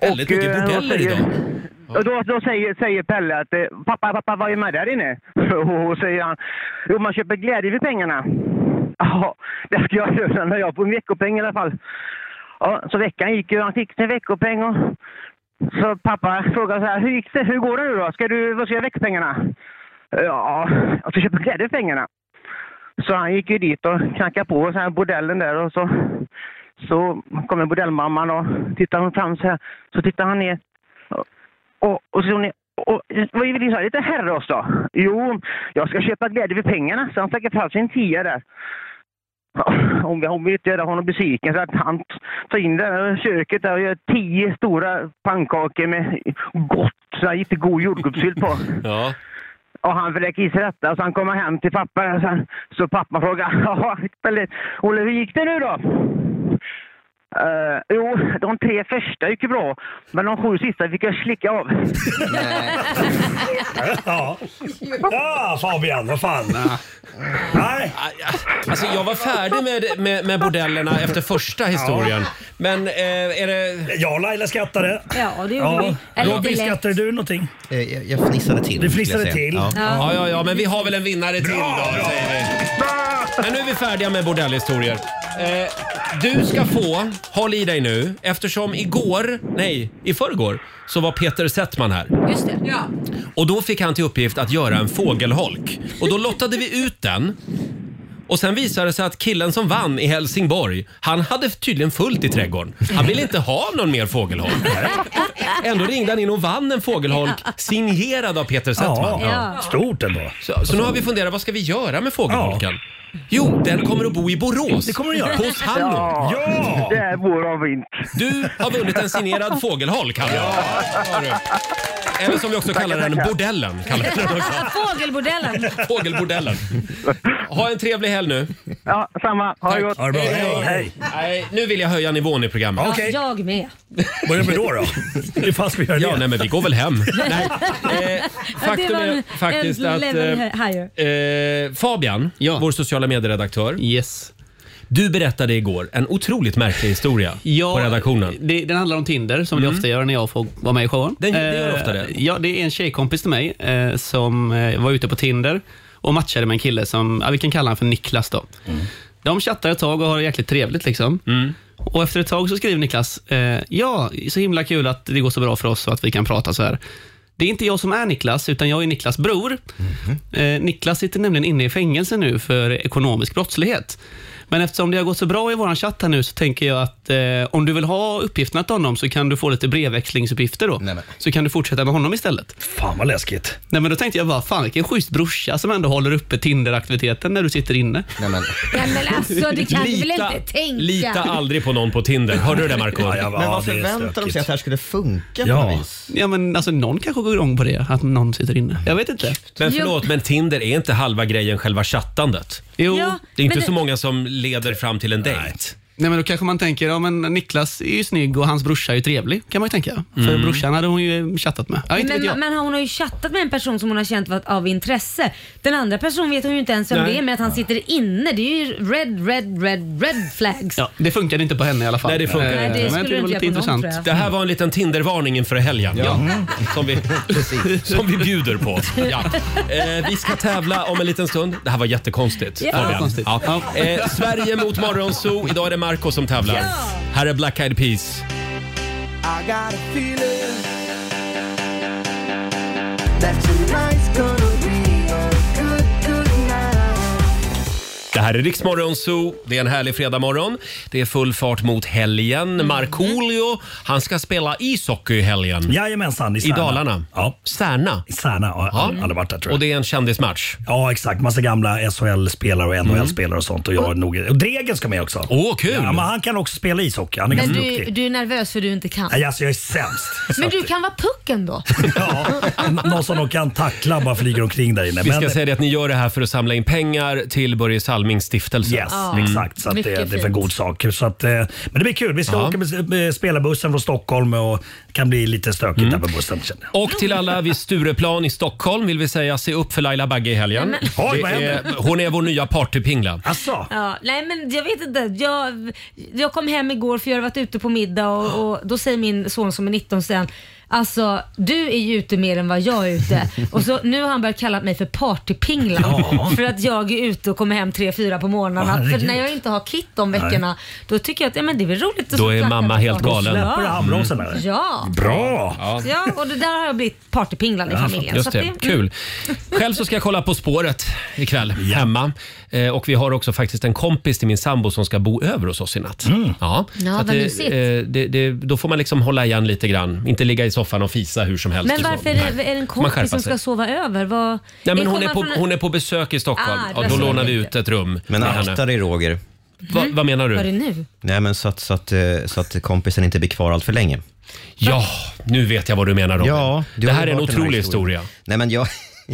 Väldigt mycket
eh,
bordeller
vad säger-
idag.
Och då, då säger, säger Pelle att eh, pappa, pappa, vad är man där inne? Och säger han, jo man köper glädje för pengarna. Ja, det ska jag göra när jag får en veckopeng i alla fall. Ja, så veckan gick ju, han fick sin veckopeng och så pappa frågade så här, hur gick det? Hur går det nu då? Ska du, vad ska jag göra med pengarna? Ja, jag ska köpa glädje för pengarna. Så han gick ju dit och knackade på så här bordellen där och så, så kommer bordellmamman och tittar hon fram så här. Så tittar han ner. Och, och så ni, och, vad vill ni ha lite herre oss då? Jo, jag ska köpa glädje för pengarna. Så han släcker fram sin tia där. Hon, hon vill inte göra honom besviken så att han tar in det här köket där och gör tio stora pannkakor med gott, så här jättegod jordgubbssylt på.
Ja.
Och han vräker i sig detta och sen kommer han hem till pappa. Och sen, så pappa frågar, ja, Pelle, Olle hur gick det nu då? Eh, jo, de tre första gick ju bra, men de sju sista fick jag slicka av.
Ja. ja, Fabian, vad fan. Nej.
Alltså jag var färdig med, med, med bordellerna efter första historien. Men eh, är det...
Ja, Laila skrattade.
Ja, det gjorde
Ja.
vi. Eller
Robin,
lite lätt.
skrattade du någonting? eh.
Jag, jag fnissade till.
Du
skulle jag
fnissade
säga.
till.
Ja.
Ja, ja, ja, men vi har väl en vinnare till då, säger vi. Men nu är vi färdiga med bordellhistorier. Eh, du ska få, håll i dig nu, eftersom igår, nej, i förrgår, så var Peter Settman här.
Just det. Ja.
Och då fick han till uppgift att göra en fågelholk. Och då lottade vi ut den. Och sen visade det sig att killen som vann i Helsingborg, han hade tydligen fullt i trädgården. Han ville inte ha någon mer fågelholk. Ändå ringde han in och vann en fågelholk signerad av Peter
Ja,
Settman.
ja. Stort ändå.
Så, så nu har vi funderat, vad ska vi göra med fågelholken? Jo, den kommer att bo i Borås.
Det kommer den göra.
Hos Hanno.
Ja. Ja.
Det är vår avint.
Du har vunnit en signerad fågelholk, Hanno. har du. Eller som vi också kallar den, bordellen. Kallar vi den också.
Fågelbordellen.
Fågelbordellen. Ha en trevlig helg nu.
Ja, samma. Ha det gott.
Ha det bra. Hej, hej.
Nej, nu vill jag höja nivån i programmet.
Ja, Jag med.
Vad gör vi då? då? Det fanns vi
Ja, nej men vi går väl hem. Nej,
det
faktum
var en,
är faktiskt
en
att...
level
eh,
higher.
Eh, Fabian, vår sociala medieredaktör.
Yes.
Du berättade igår en otroligt märklig historia på redaktionen.
Det, den handlar om Tinder, som
Mm.
vi ofta gör när jag får vara med i showen. Eh,
Den- det gör ofta det.
Ja, det är en tjejkompis till mig eh, som eh, var ute på Tinder och matchade med en kille som, ja, vi kan kalla honom för Niklas då.
Mm.
De chattar ett tag och har det jäkligt trevligt liksom.
Mm.
Och efter ett tag så skriver Niklas, eh, ja, så himla kul att det går så bra för oss och att vi kan prata så här. Det är inte jag som är Niklas, utan jag är Niklas bror.
Mhm.
Eh, Niklas sitter nämligen inne i fängelse nu för ekonomisk brottslighet. Men eftersom det har gått så bra i vår chatt här nu så tänker jag att eh, om du vill ha uppgifterna till honom så kan du få lite brevväxlingsuppgifter då. Så kan du fortsätta med honom istället.
Fan vad läskigt.
Nej men då tänkte jag bara, fan vilken schysst brorsa som ändå håller uppe Tinder-aktiviteten när du sitter inne.
Nej, men.
Nej men alltså det kan du väl inte tänka?
Lita aldrig på någon på Tinder. Hörde du det Marco?
Men vad förväntar de sig att det här skulle funka på något vis?
Ja men alltså någon kanske går igång på det, att någon sitter inne. Jag vet inte.
Men förlåt, men Tinder är inte halva grejen själva chattandet.
Jo. Ja,
det är inte
men
så
det-
många som leder fram till en dejt.
Nej men då kanske man tänker, ja men Niklas är ju snygg och hans brorsa är ju trevlig, kan man ju tänka. För
Mm.
brorsan hade hon ju chattat med. Ja, inte vet jag.
men, men hon har ju chattat med en person som hon har känt varit av intresse. Den andra personen vet hon ju inte ens vem
Nej.
det är men att han sitter inne det är ju red, red, red, red flags.
Ja, det funkade inte på henne i alla fall.
Nej, det funkar
Eh,
inte.
Nej, det
men jag
skulle
tyckte det var
inte
lite
göra på någon,
intressant.
tror jag.
Det här var en liten Tindervarning inför helgen.
Ja.
Mm. Som, vi, som vi bjuder på. Ja. Eh, vi ska tävla om en liten stund. Det här var jättekonstigt.
Ja.
Fabian.
Ja, konstigt.
Ja. Eh, Sverige mot Morgonzoo. Idag är det Marco som tävlar. Här är Black Eyed Peas.
I got a feeling that tonight's gonna be a good, good night.
Det här är Riksmorgon Zoo. Det är en härlig fredagmorgon. Det är full fart mot
Mm.
helgen. Markoolio, han ska spela ishockey i helgen.
Jajamensan, i
I
Särna.
Dalarna.
Ja.
Särna.
Särna, ja.
Ja.
Aldrig varit där tror jag.
Och det är en kändismatch.
Ja, exakt. Massa gamla SHL-spelare och NHL-spelare och sånt. Och, jag är nog... och Dregen ska med också.
Åh, kul!
Ja, men han kan också spela ishockey. Han är
Men
ganska
du,
duktig.
du är nervös för du inte kan.
Nej, alltså jag är sämst. Så
Men
att-
du kan vara pucken då?
N- Någon som de kan tackla bara flyger omkring där inne.
Vi ska
Men-
säga det att ni gör det här för att samla in pengar till Börje Mm. Salming Folkbildningsstiftelsen.
Yes, exakt. Så att det, det är för god sak. Så att, eh, men det blir kul. Vi ska
Ja.
åka med med spelarbussen från Stockholm och det kan bli lite stökigt
Mm.
där på bussen. känner jag.
Och till alla vid Stureplan i Stockholm vill vi säga se upp för Laila Bagge i helgen.
Nej, men- Oj, vad
Det
händer?
är, hon är vår nya partypingla.
Asså?
Ja, nej men jag vet inte. Jag, jag kom hem igår för jag hade varit ute på middag och, och då säger min son som är 19 sen Alltså du är ju ute mer än vad jag är ute. Och så, nu har han börjat kalla mig för partypinglan.
Ja.
För att jag är ute och kommer hem 3-4 på
Åh,
morgnarna.
herregud.
för när jag inte har kit de veckorna, då tycker jag att ja, men det är väl roligt. att
Då är
snacka
mamma
med
helt
folk.
galen.
Ja.
Mm.
Ja.
Bra!
Ja, och det där har jag blivit partypinglan i familjen.
Just
Så att Mm.
det, kul. Själv så ska jag kolla På spåret ikväll hemma. Eh, och vi har också faktiskt en kompis till min sambo som ska bo över hos oss i natt. Ja,
Mm. Ja,
så att
vad
det,
mysigt.
eh, det, det, då får man liksom hålla igen lite grann. Inte ligga i soffan och fisa hur som helst.
Men
och så.
varför är det,
Nej.
är det en
Får man skärpa
kompis som
sig.
ska sova över? Vad,
Nej, men
Ni
hon, är
kommer
på,
från-
hon är på besök i Stockholm.
Ah,
ja, då
där ser
lånar
vi
vi
det.
ut ett rum.
Men
med henne.
akta dig Roger.
Va,
Mm.
vad menar
Vad
du?
är det nu?
Nej, men så att, så, att, eh, så att kompisen inte blir kvar allt för länge.
Ja, nu vet jag vad du menar Robin.
Ja, du
det
har
här
ju
är en
hört den här
otrolig historia.
Nej, men jag,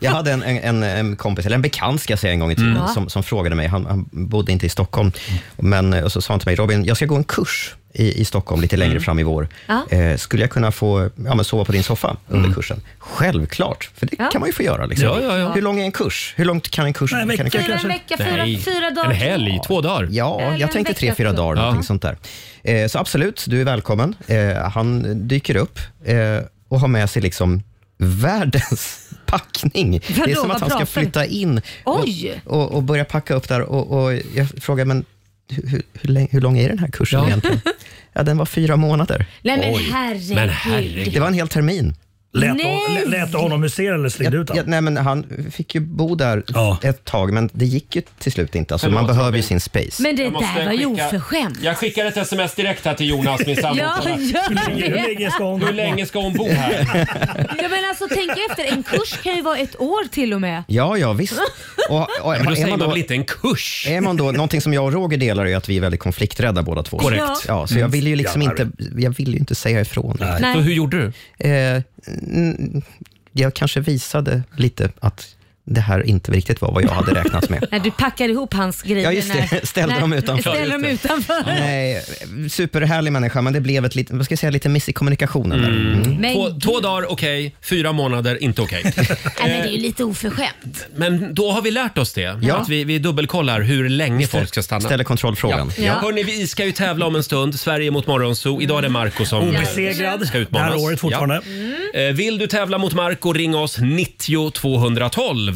jag hade en, en- en, en kompis, eller en bekant ska jag säga en gång i tiden,
Mm.
som, som frågade mig. Han, han bodde inte i Stockholm, men eh, och så sa han till mig, Robin, jag ska gå en kurs i, i Stockholm lite
Mm.
längre fram i vår.
Ja.
Eh, skulle jag kunna få ja, men sova på din soffa
Mm.
under kursen? Självklart, för det
Ja.
kan man ju få göra. Liksom.
Ja, ja, ja.
Hur lång är en kurs? Hur långt kan en kurs
Nej, en
kan
vecka
kurs-
kanske. Fyra, en vecka, fyra- Nej. fyra dagar.
En
helg, två dagar.
Ja,
Eller en
jag tänkte
vecka,
tre, fyra
tror jag.
dagar.
Ja.
någonting sånt där. Eh, så absolut, du är välkommen. Eh, han dyker upp eh, och har med sig liksom världens packning.
Vadå,
det är som
vad
att han ska
pratar du?
flytta in och,
Oj!
och, och börja packa upp där. Och, och jag frågar, men hur, hur, hur, länge, hur lång är den här kursen egentligen? Ja, den var fyra månader.
Nej, men Oj. herregud. Men herregud.
Det var en hel termin.
Lät Nej. hon- lä- lät du
honom musera eller slid ut ja, Nej, men Han fick ju bo där ett tag, men det gick ju till slut inte. Alltså, man
Förlåt,
behöver ju sin space.
Men det
Jag måste
där var ju
skicka-
oförskämt.
Jag skickar ett sms direkt här till Jonas, min sambo.
Ja, gör det. Hur länge- hur länge ska hon-
Hur länge ska hon bo här?
Ja, men alltså, tänk efter, en kurs kan ju vara ett år till och med.
Ja, ja visst. Och, och,
men då säger man väl
inte
en kurs?
Är man då, någonting som jag och Roger delar är ju att vi är väldigt konflikträdda båda två.
Korrekt.
Ja.
Ja.
så jag
Mm.
ville ju liksom
Grabbar.
inte, jag ville ju inte säga ifrån.
Nej. Så hur gjorde du?
Eh, mm, jag kanske visade lite att det här inte riktigt var vad jag hade räknat med.
När du packar ihop hans grejer.
Ja, just det.
När,
Ställde
när,
dem utanför.
Ställde dem utanför.
Nej, superhärlig människa, men det blev ett lit, vad ska jag säga, lite miss i kommunikationen. Där. Mm.
Men
Två, två dagar okej, fyra månader inte okej.
Nej, men det är ju lite oförskämt.
Men då har vi lärt oss det.
Ja.
Att vi, vi dubbelkollar hur länge folk ska stanna.
Ställer kontrollfrågan.
Ja.
Ja.
Hörni, vi ska ju tävla om en stund. Sverige mot Morgonzoo. Idag är det Marco som
Obesegrad
ska utmanas.
det här året fortfarande.
Ja. Eh, Vill du tävla mot Marco, ring oss 90 212.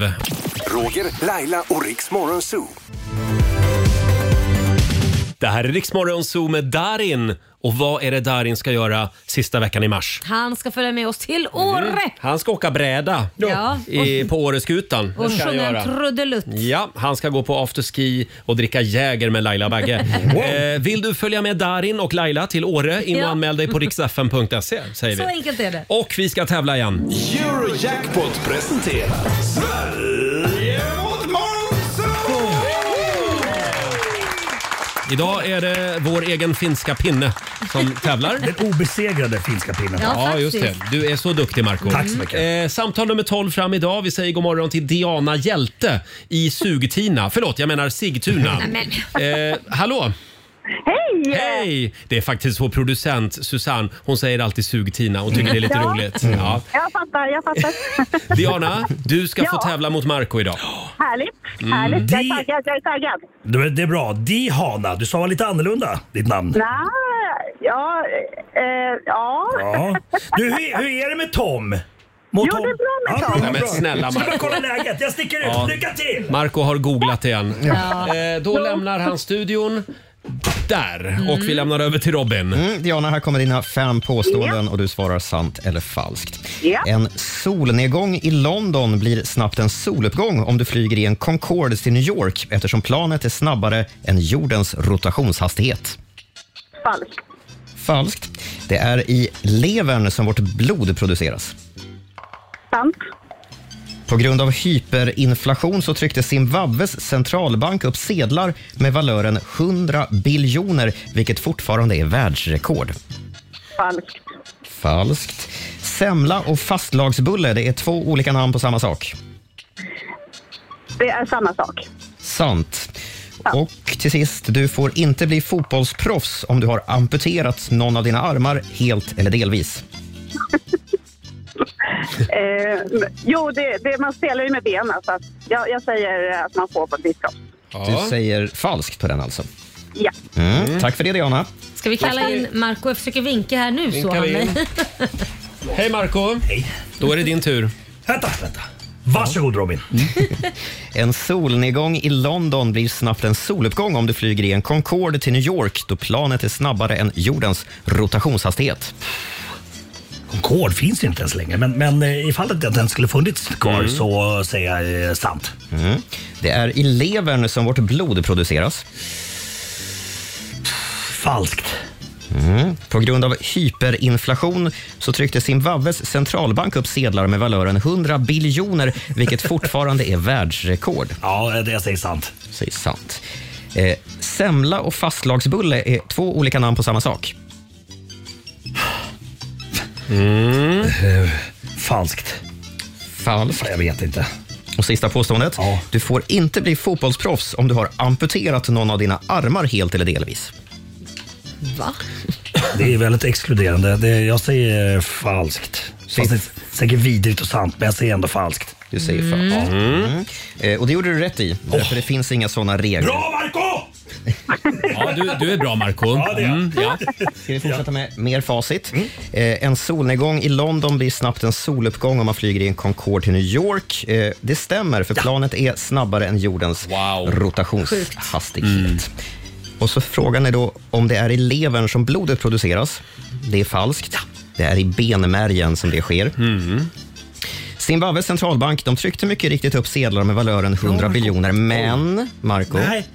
Roger, Laila och Riks Morgonzoo.
Det här är Riksmorgon Zoo med Darin. Och vad är det Darin ska göra sista veckan i mars?
Han ska följa med oss till Åre.
Han ska åka bräda
Ja.
i, på Åreskutan.
Och
Det ska han
sjunga en
göra.
trudelutt.
Ja, han ska gå på afterski och dricka Jäger med Laila Bagge. eh, vill du följa med Darin och Laila till Åre? In och
Ja.
anmäl dig på riksfn.se säger
Så
vi.
enkelt är det.
Och vi ska tävla igen.
Eurojackpot presenterar Sverige mot
Idag är det vår egen finska pinne som tävlar. Den obesegrade finska pinnen.
Ja,
Ja,
faktiskt.
just det. Du är så duktig Marco.
Tack så mycket.
Eh, samtal nummer 12 fram idag. Vi säger god morgon till Diana Hjälte i Sugtina. Förlåt, jag menar Sigtuna. Eh, hallå! Hej! Hej! Det är faktiskt vår producent Susanne. Hon säger alltid Sugtina. Hon tycker det är lite
Ja.
roligt.
Mm.
Ja.
Jag fattar, jag fattar.
Diana, du ska få
Ja.
tävla mot Marco idag.
Härligt,
Mm.
härligt. Jag
Di-
är taggad, jag är taggad.
Det, det är bra. Dihana, du sa lite annorlunda ditt namn.
Nej, ja, eh, ja.
Ja. Du, hur, hur är det med Tom? Mot
Jo, det är bra med Tom.
Nej, men snälla,
Ska
Marco.
bara kolla läget? Jag sticker ut.
Ja.
Lycka till!
Marco har googlat igen.
Ja.
Eh, då lämnar han studion där och vi lämnar över till Robin.
Mm, Diana, här kommer dina fem påståenden och du svarar sant eller falskt.
Ja.
En solnedgång i London blir snabbt en soluppgång om du flyger i en Concorde till New York eftersom planet är snabbare än jordens rotationshastighet.
Falskt.
Falskt. Det är i levern som vårt blod produceras.
Sant.
På grund av hyperinflation så tryckte Zimbabwes centralbank upp sedlar med valören 100 biljoner, vilket fortfarande är världsrekord.
Falskt.
Falskt. Semla och fastlagsbulle, det är två olika namn på samma sak.
Det är samma sak.
Sant. Och till sist, du får inte bli fotbollsproffs om du har amputerat någon av dina armar helt eller delvis.
Eh, jo, det, det, man spelar ju med benen, så att jag, jag säger att man får på ett visst proffs.
Du säger falskt på den alltså.
Ja.
Mm. Tack för det, Diana.
Ska vi kalla in Marco? Jag försöker vinka här nu så
Vinkar
han
vi in.
mig.
Hej Marco Hej. Då är det din tur.
Vänta, vänta. Varsågod Robin.
En solnedgång i London blir snabbt en soluppgång om du flyger i en Concorde till New York då planet är snabbare än jordens rotationshastighet.
Concorde finns ju inte ens längre, men, men eh, ifall att den skulle funnits kvar
Mm.
så säger jag eh, sant.
Mm. Det är i levern som vårt blod produceras.
Falskt.
Mm. På grund av hyperinflation så tryckte Zimbabwes centralbank upp sedlar med valören 100 biljoner, vilket fortfarande är världsrekord.
Ja, det jag säger sant.
Säger sant. Eh, semla och fastlagsbulle är två olika namn på samma sak.
Eh, Falskt.
Falskt.
Jag vet inte.
Och sista påståendet. Du får inte bli fotbollsproffs om du har amputerat någon av dina armar helt eller delvis.
Va?
Det är väldigt exkluderande. Det, jag säger eh, falskt. Fast det är säkert vidrigt och sant, men jag säger ändå falskt.
Du säger falskt. Mm. Eh, och det gjorde du rätt i, för det finns inga sådana regler.
Bra Marco!
Ja, du, du är bra Marco Ja, det är mm, ja.
Ska vi fortsätta med mer facit? Eh, en solnedgång i London blir snabbt en soluppgång om man flyger i en Concorde till New York. Eh, det stämmer, för planet är snabbare än jordens rotationshastighet.
Mm.
Och så frågan är då om det är i levern som blodet produceras. Det är falskt. Det är i benmärgen som det sker.
Mm.
Zimbabwes centralbank de tryckte mycket riktigt upp sedlar med valören 100 biljoner, men Marco,
Nej.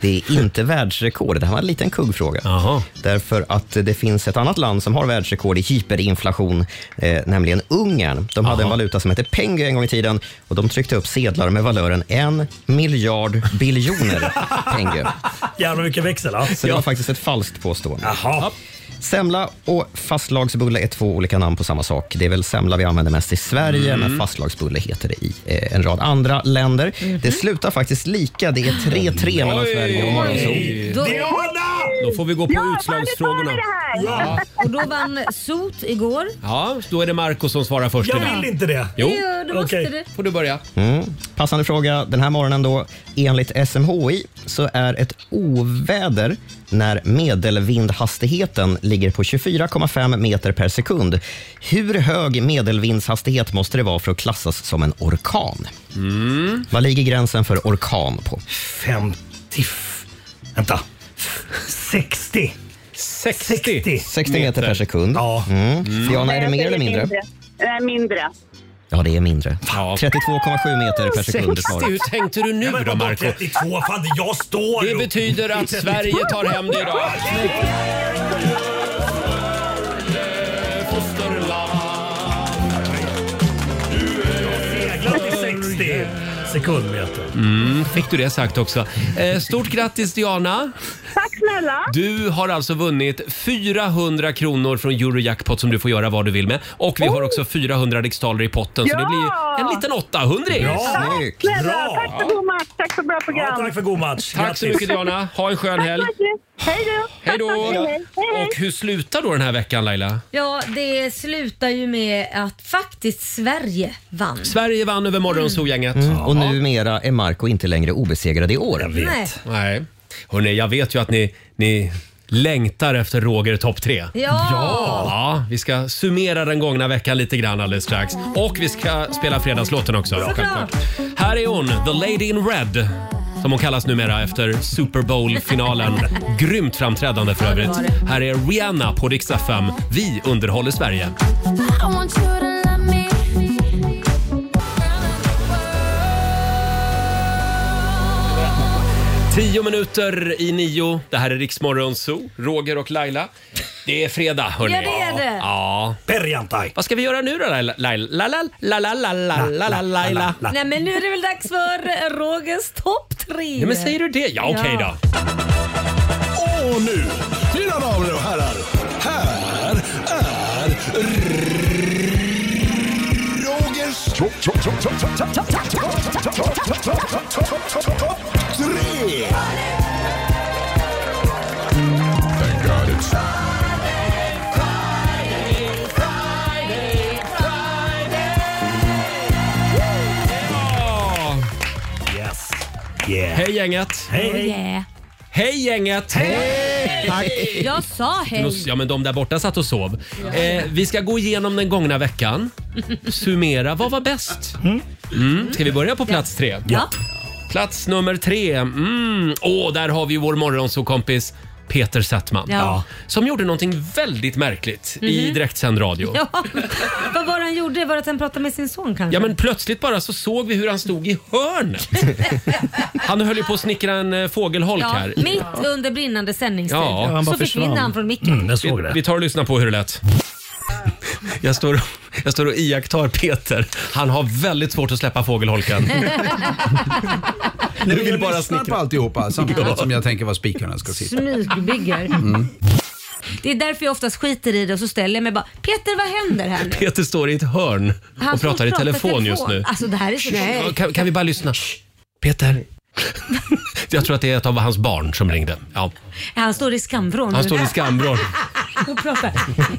det är inte världsrekord. Det här var en liten kuggfråga. Därför att det finns ett annat land som har världsrekord i hyperinflation, eh, nämligen Ungern. De hade en valuta som hette Pengu en gång i tiden och de tryckte upp sedlar med valören en miljard biljoner Pengu.
Jävlar vilken växel. Ja.
Så det var faktiskt ett falskt påstående.
Jaha.
Semla och fastlagsbulle är två olika namn på samma sak. Det är väl semla vi använder mest i Sverige,
Mm.
men fastlagsbulle heter det i eh, en rad andra länder.
Mhm.
Det slutar faktiskt lika. Det är 3-3 mellan Sverige och Morgonzoo.
Diana!
Då får vi gå på utslagsfrågorna.
Ja. Och då vann Sot igår.
Ja, då är det Marco som svarar först.
Jag
idag.
vill inte det.
Jo,
Jo, då måste Okej. du.
får du börja.
Mm. Passande fråga den här morgonen då. Enligt SMHI så är ett oväder när medelvindhastigheten ligger på 24,5 meter per sekund. Hur hög medelvindshastighet måste det vara för att klassas som en orkan? Vad ligger gränsen för orkan på?
50... f- Vänta. 60.
60.
60 meter per sekund. Ja. Mm. Diana, är det mer eller mindre?
Nej, mindre.
Ja, det är mindre. 32,7 meter per sekund. är svaret.
Hur tänkte du nu då Marco?
32, fan jag står
Det betyder att Sverige tar hem det idag.
Seglat i 60 sekundmeter.
Mm, fick du det sagt också. Eh, stort grattis Diana!
Tack snälla!
Du har alltså vunnit 400 kronor från Eurojackpot som du får göra vad du vill med. Och vi
Oh.
har också 400 riksdaler i potten så det blir en liten 800
Bra!
Snälla, Tack för god match, tack för bra program.
tack för god match.
Tack så mycket Diana, ha en skön helg!
Hej då!
Hej då! Och hur slutar då den här veckan Laila?
Ja, det slutar ju med att faktiskt Sverige vann.
Sverige vann över Morgonzoo-gänget.
Mm. Och numera är Marco inte längre obesegrad i år.
vet. Nej.
Nej. Hörrni, jag vet ju att ni, ni längtar efter Roger topp 3.
Ja!
ja! Vi ska summera den gångna veckan lite grann alldeles strax. Och vi ska spela fredagslåten också. självklart. Här är hon, The Lady in Red. Som hon kallas numera efter Super Bowl-finalen. Grymt framträdande för övrigt. Här är Rihanna på Rix FM. Vi underhåller
I
Sverige.
want you to love me.
Tio minuter i nio. Det här är Riksmorgon Zoo, Roger och Laila. Det är fredag, hörni.
Ja, det är det.
Ja.
Perjantai.
Vad ska vi göra nu då, Laila? Laila? Laila? Laila? Laila? Laila? Laila?
Nej men nu är det väl dags för Rogers topp tre.
Ja, men säger du det? Ja, okej
Ja.
då.
Och nu, mina damer och herrar, här är Rogers topp tre!
Yeah. Ah. Hej gänget!
Hej. Oh, yeah.
Hej gänget! Hej!
Jag sa hej.
Ja, men de där borta satt och sov. Eh, vi ska gå igenom den gångna veckan. Summera, vad var bäst? Mm. Ska vi börja på plats tre?
Ja.
Plats nummer tre. Mm. Åh, där har vi vår morgonsåkompis Peter Settman.
Ja. Ja.
Som gjorde någonting väldigt märkligt i
Mhm.
direktsänd radio.
Ja. Vad var det han gjorde? Var det att han pratade med sin son kanske?
Ja men plötsligt bara så såg vi hur han stod i hörnet. Han höll ju på att snickra en eh, fågelholk
Ja,
här.
mitt under brinnande sändningstid
Ja, han bara
så försvinner
försvann.
han från micken.
vi, vi tar och lyssnar på hur det lät. Jag står, och- jag står och iakttar Peter. Han har väldigt svårt att släppa
Mm.
fågelholken.
Du vill bara snickra. på alltihopa samtidigt som jag tänker var spikarna ska sitta.
Smygbygger.
Mm.
Det är därför jag oftast skiter i det och så ställer jag mig bara “Peter, vad händer här nu?”
Peter står i ett hörn
Han
och
står
pratar i telefon just nu.
Alltså det här är så...
Ja, Kan, kan vi bara lyssna? Peter. Jag tror att det är ett av hans barn som ringde. Ja.
Han står i skamvrån
Han
nu.
står i skamvrån.
och pratar.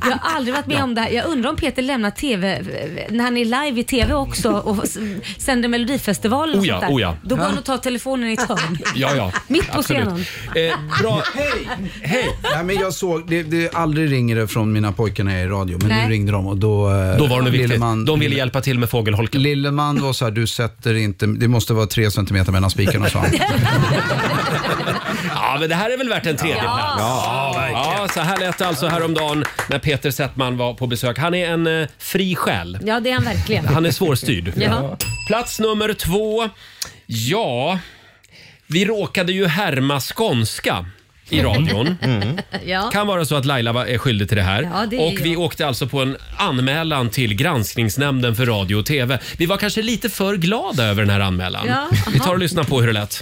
Jag har aldrig varit med om det här. Jag undrar om Peter lämnar TV, när han är live i TV också och s- sänder Melodifestivalen och
Oh ja,
sånt där.
oh ja.
Då går
Ja.
han och tar telefonen i ett hörn.
Ja, ja.
Mitt på
Absolut.
scenen.
bra.
Hej! Hej! Nej, men jag såg, det, det aldrig ringer det från mina pojkar när jag är i radio, men
Nej.
nu ringde de och då... eh,
Då var det nog viktigt.
Lilleman-
De ville hjälpa till med fågelholken.
Lilleman var så här, du sätter inte, det måste vara tre centimeter mellan spikarna sa han.
Ja, men det här är väl värt en tredje
Ja.
plats?
Ja,
ja, så här lät det alltså häromdagen när Peter Settman var på besök. Han är en eh, fri själ.
Ja, det är han verkligen.
Han är svårstyrd.
Ja.
Plats nummer två. Ja, vi råkade ju härma skånska i radion.
Ja.
Kan vara så att Laila var- är skyldig till det här.
Mm. Ja, det är
och vi
jag.
åkte alltså på en anmälan till Granskningsnämnden för radio och TV. Vi var kanske lite för glada över den här anmälan.
Ja,
vi tar
aha.
och lyssnar på hur det lät.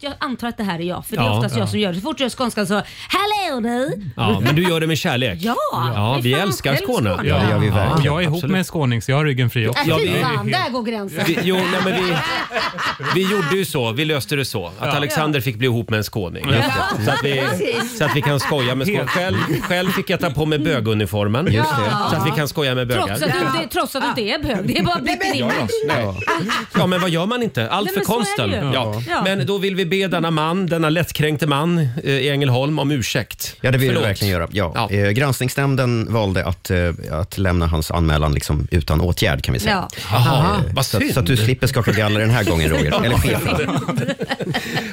Jag antar att det här är jag, för det är
Ja.
oftast
Ja.
jag som gör det. Så fort jag gör skånskan så “Hallå du!”
Ja, men du gör det med kärlek.
Ja,
ja vi
det är fan
älskar
själv
Skåne.
Skåne. Ja, det gör vi verkligen.
Jag är ihop med en skåning så jag har ryggen fri också.
Äh, fy fan, där går gränsen.
Vi, jo, nej, men vi, vi gjorde ju så, vi löste det så. Att Alexander fick bli ihop med en skåning.
Ja.
Så, att vi,
Precis.
så att vi kan skoja med skåning.
Helt.
Själv, själv fick jag ta på mig böguniformen.
Just det.
Så att vi kan skoja med bögar.
Trots att, du, inte- trots att du inte är bög. Det är bara blicken in.
Ja, ja. ja, men vad gör man inte? Allt
Nej,
för
men så är
konsten.
det ju.
Ja.
Ja.
Men då vill vi be denna man, denna lättkränkte man eh, i Ängelholm om ursäkt.
Ja, det vill vi
Förlåt.
verkligen göra. Ja. Eh, granskningsnämnden valde att, eh, att lämna hans anmälan liksom utan åtgärd kan vi säga.
Ja. Jaha,
Eh,
vad
så, att-
synd.
så att du slipper skaka galler den här gången Roger. Eller chefen.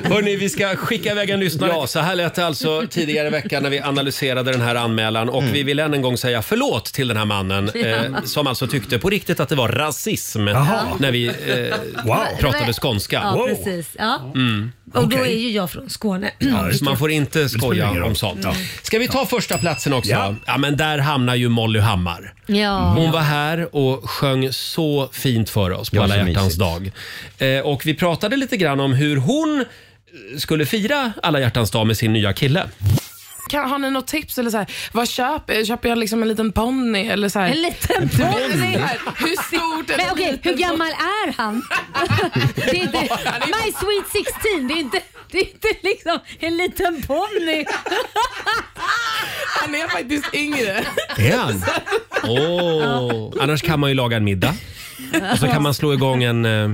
Hörni, vi ska skicka iväg en lyssnare. Ja, så här lät det alltså tidigare i veckan när vi analyserade den här anmälan och vi vill än en gång säga förlåt till den här mannen eh,
Ja.
som alltså tyckte på riktigt att det var rasism
Jaha.
när vi eh, pratade skånska.
Ja, precis. Ja.
Mm.
Och då är ju jag från Skåne.
så man får inte
ingen
skoja
roll.
om sånt. Ska vi ta första platsen också?
Ja.
Ja. men där hamnar ju Molly Hammar.
Ja.
Hon var här och sjöng så fint för oss på
Ja,
alla
så
hjärtans
mysigt.
dag. Eh, och vi pratade lite grann om hur hon eh, skulle fira alla hjärtans dag med sin nya kille.
Kan, har ni något tips? Eller så här, vad köper, köper jag liksom en liten ponny? Eller så här?
En liten
ponny? Nej, så här, Hur stort är
Men okej, hur gammal är han? Det är inte, my sweet 16, det är inte, det är inte liksom en liten ponny.
Han är faktiskt yngre.
Är han? Åh. Annars kan man ju laga en middag och så kan man slå igång en, eh,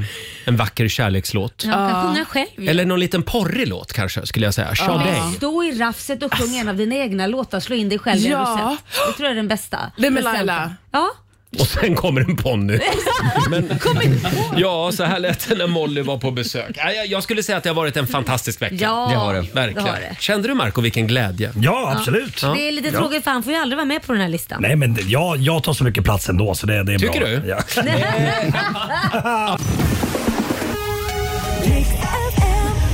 en vacker kärlekslåt.
Han kan sjunga själv ju.
Eller någon liten porrig låt kanske skulle jag säga. Sade.
Men Stå i rafset och sjung en av dina egna låtar. Slå in dig själv i en
Ja.
rosett. Det tror jag är den bästa.
Nej, men
presenten.
Laila.
Ja.
Och sen kommer en ponny. Men, ja, så här lät det när Molly var på besök. Ja, Jag, jag skulle säga att det har varit en fantastisk vecka.
Ja, Det har det.
Verkligen.
det har det.
Kände du Marco vilken glädje?
Ja, absolut.
Ja.
Det är lite tråkigt för han får ju aldrig vara med på den här listan.
Nej, men det- jag, jag tar så mycket plats ändå så det, det är
Tycker
bra.
du?
Ja.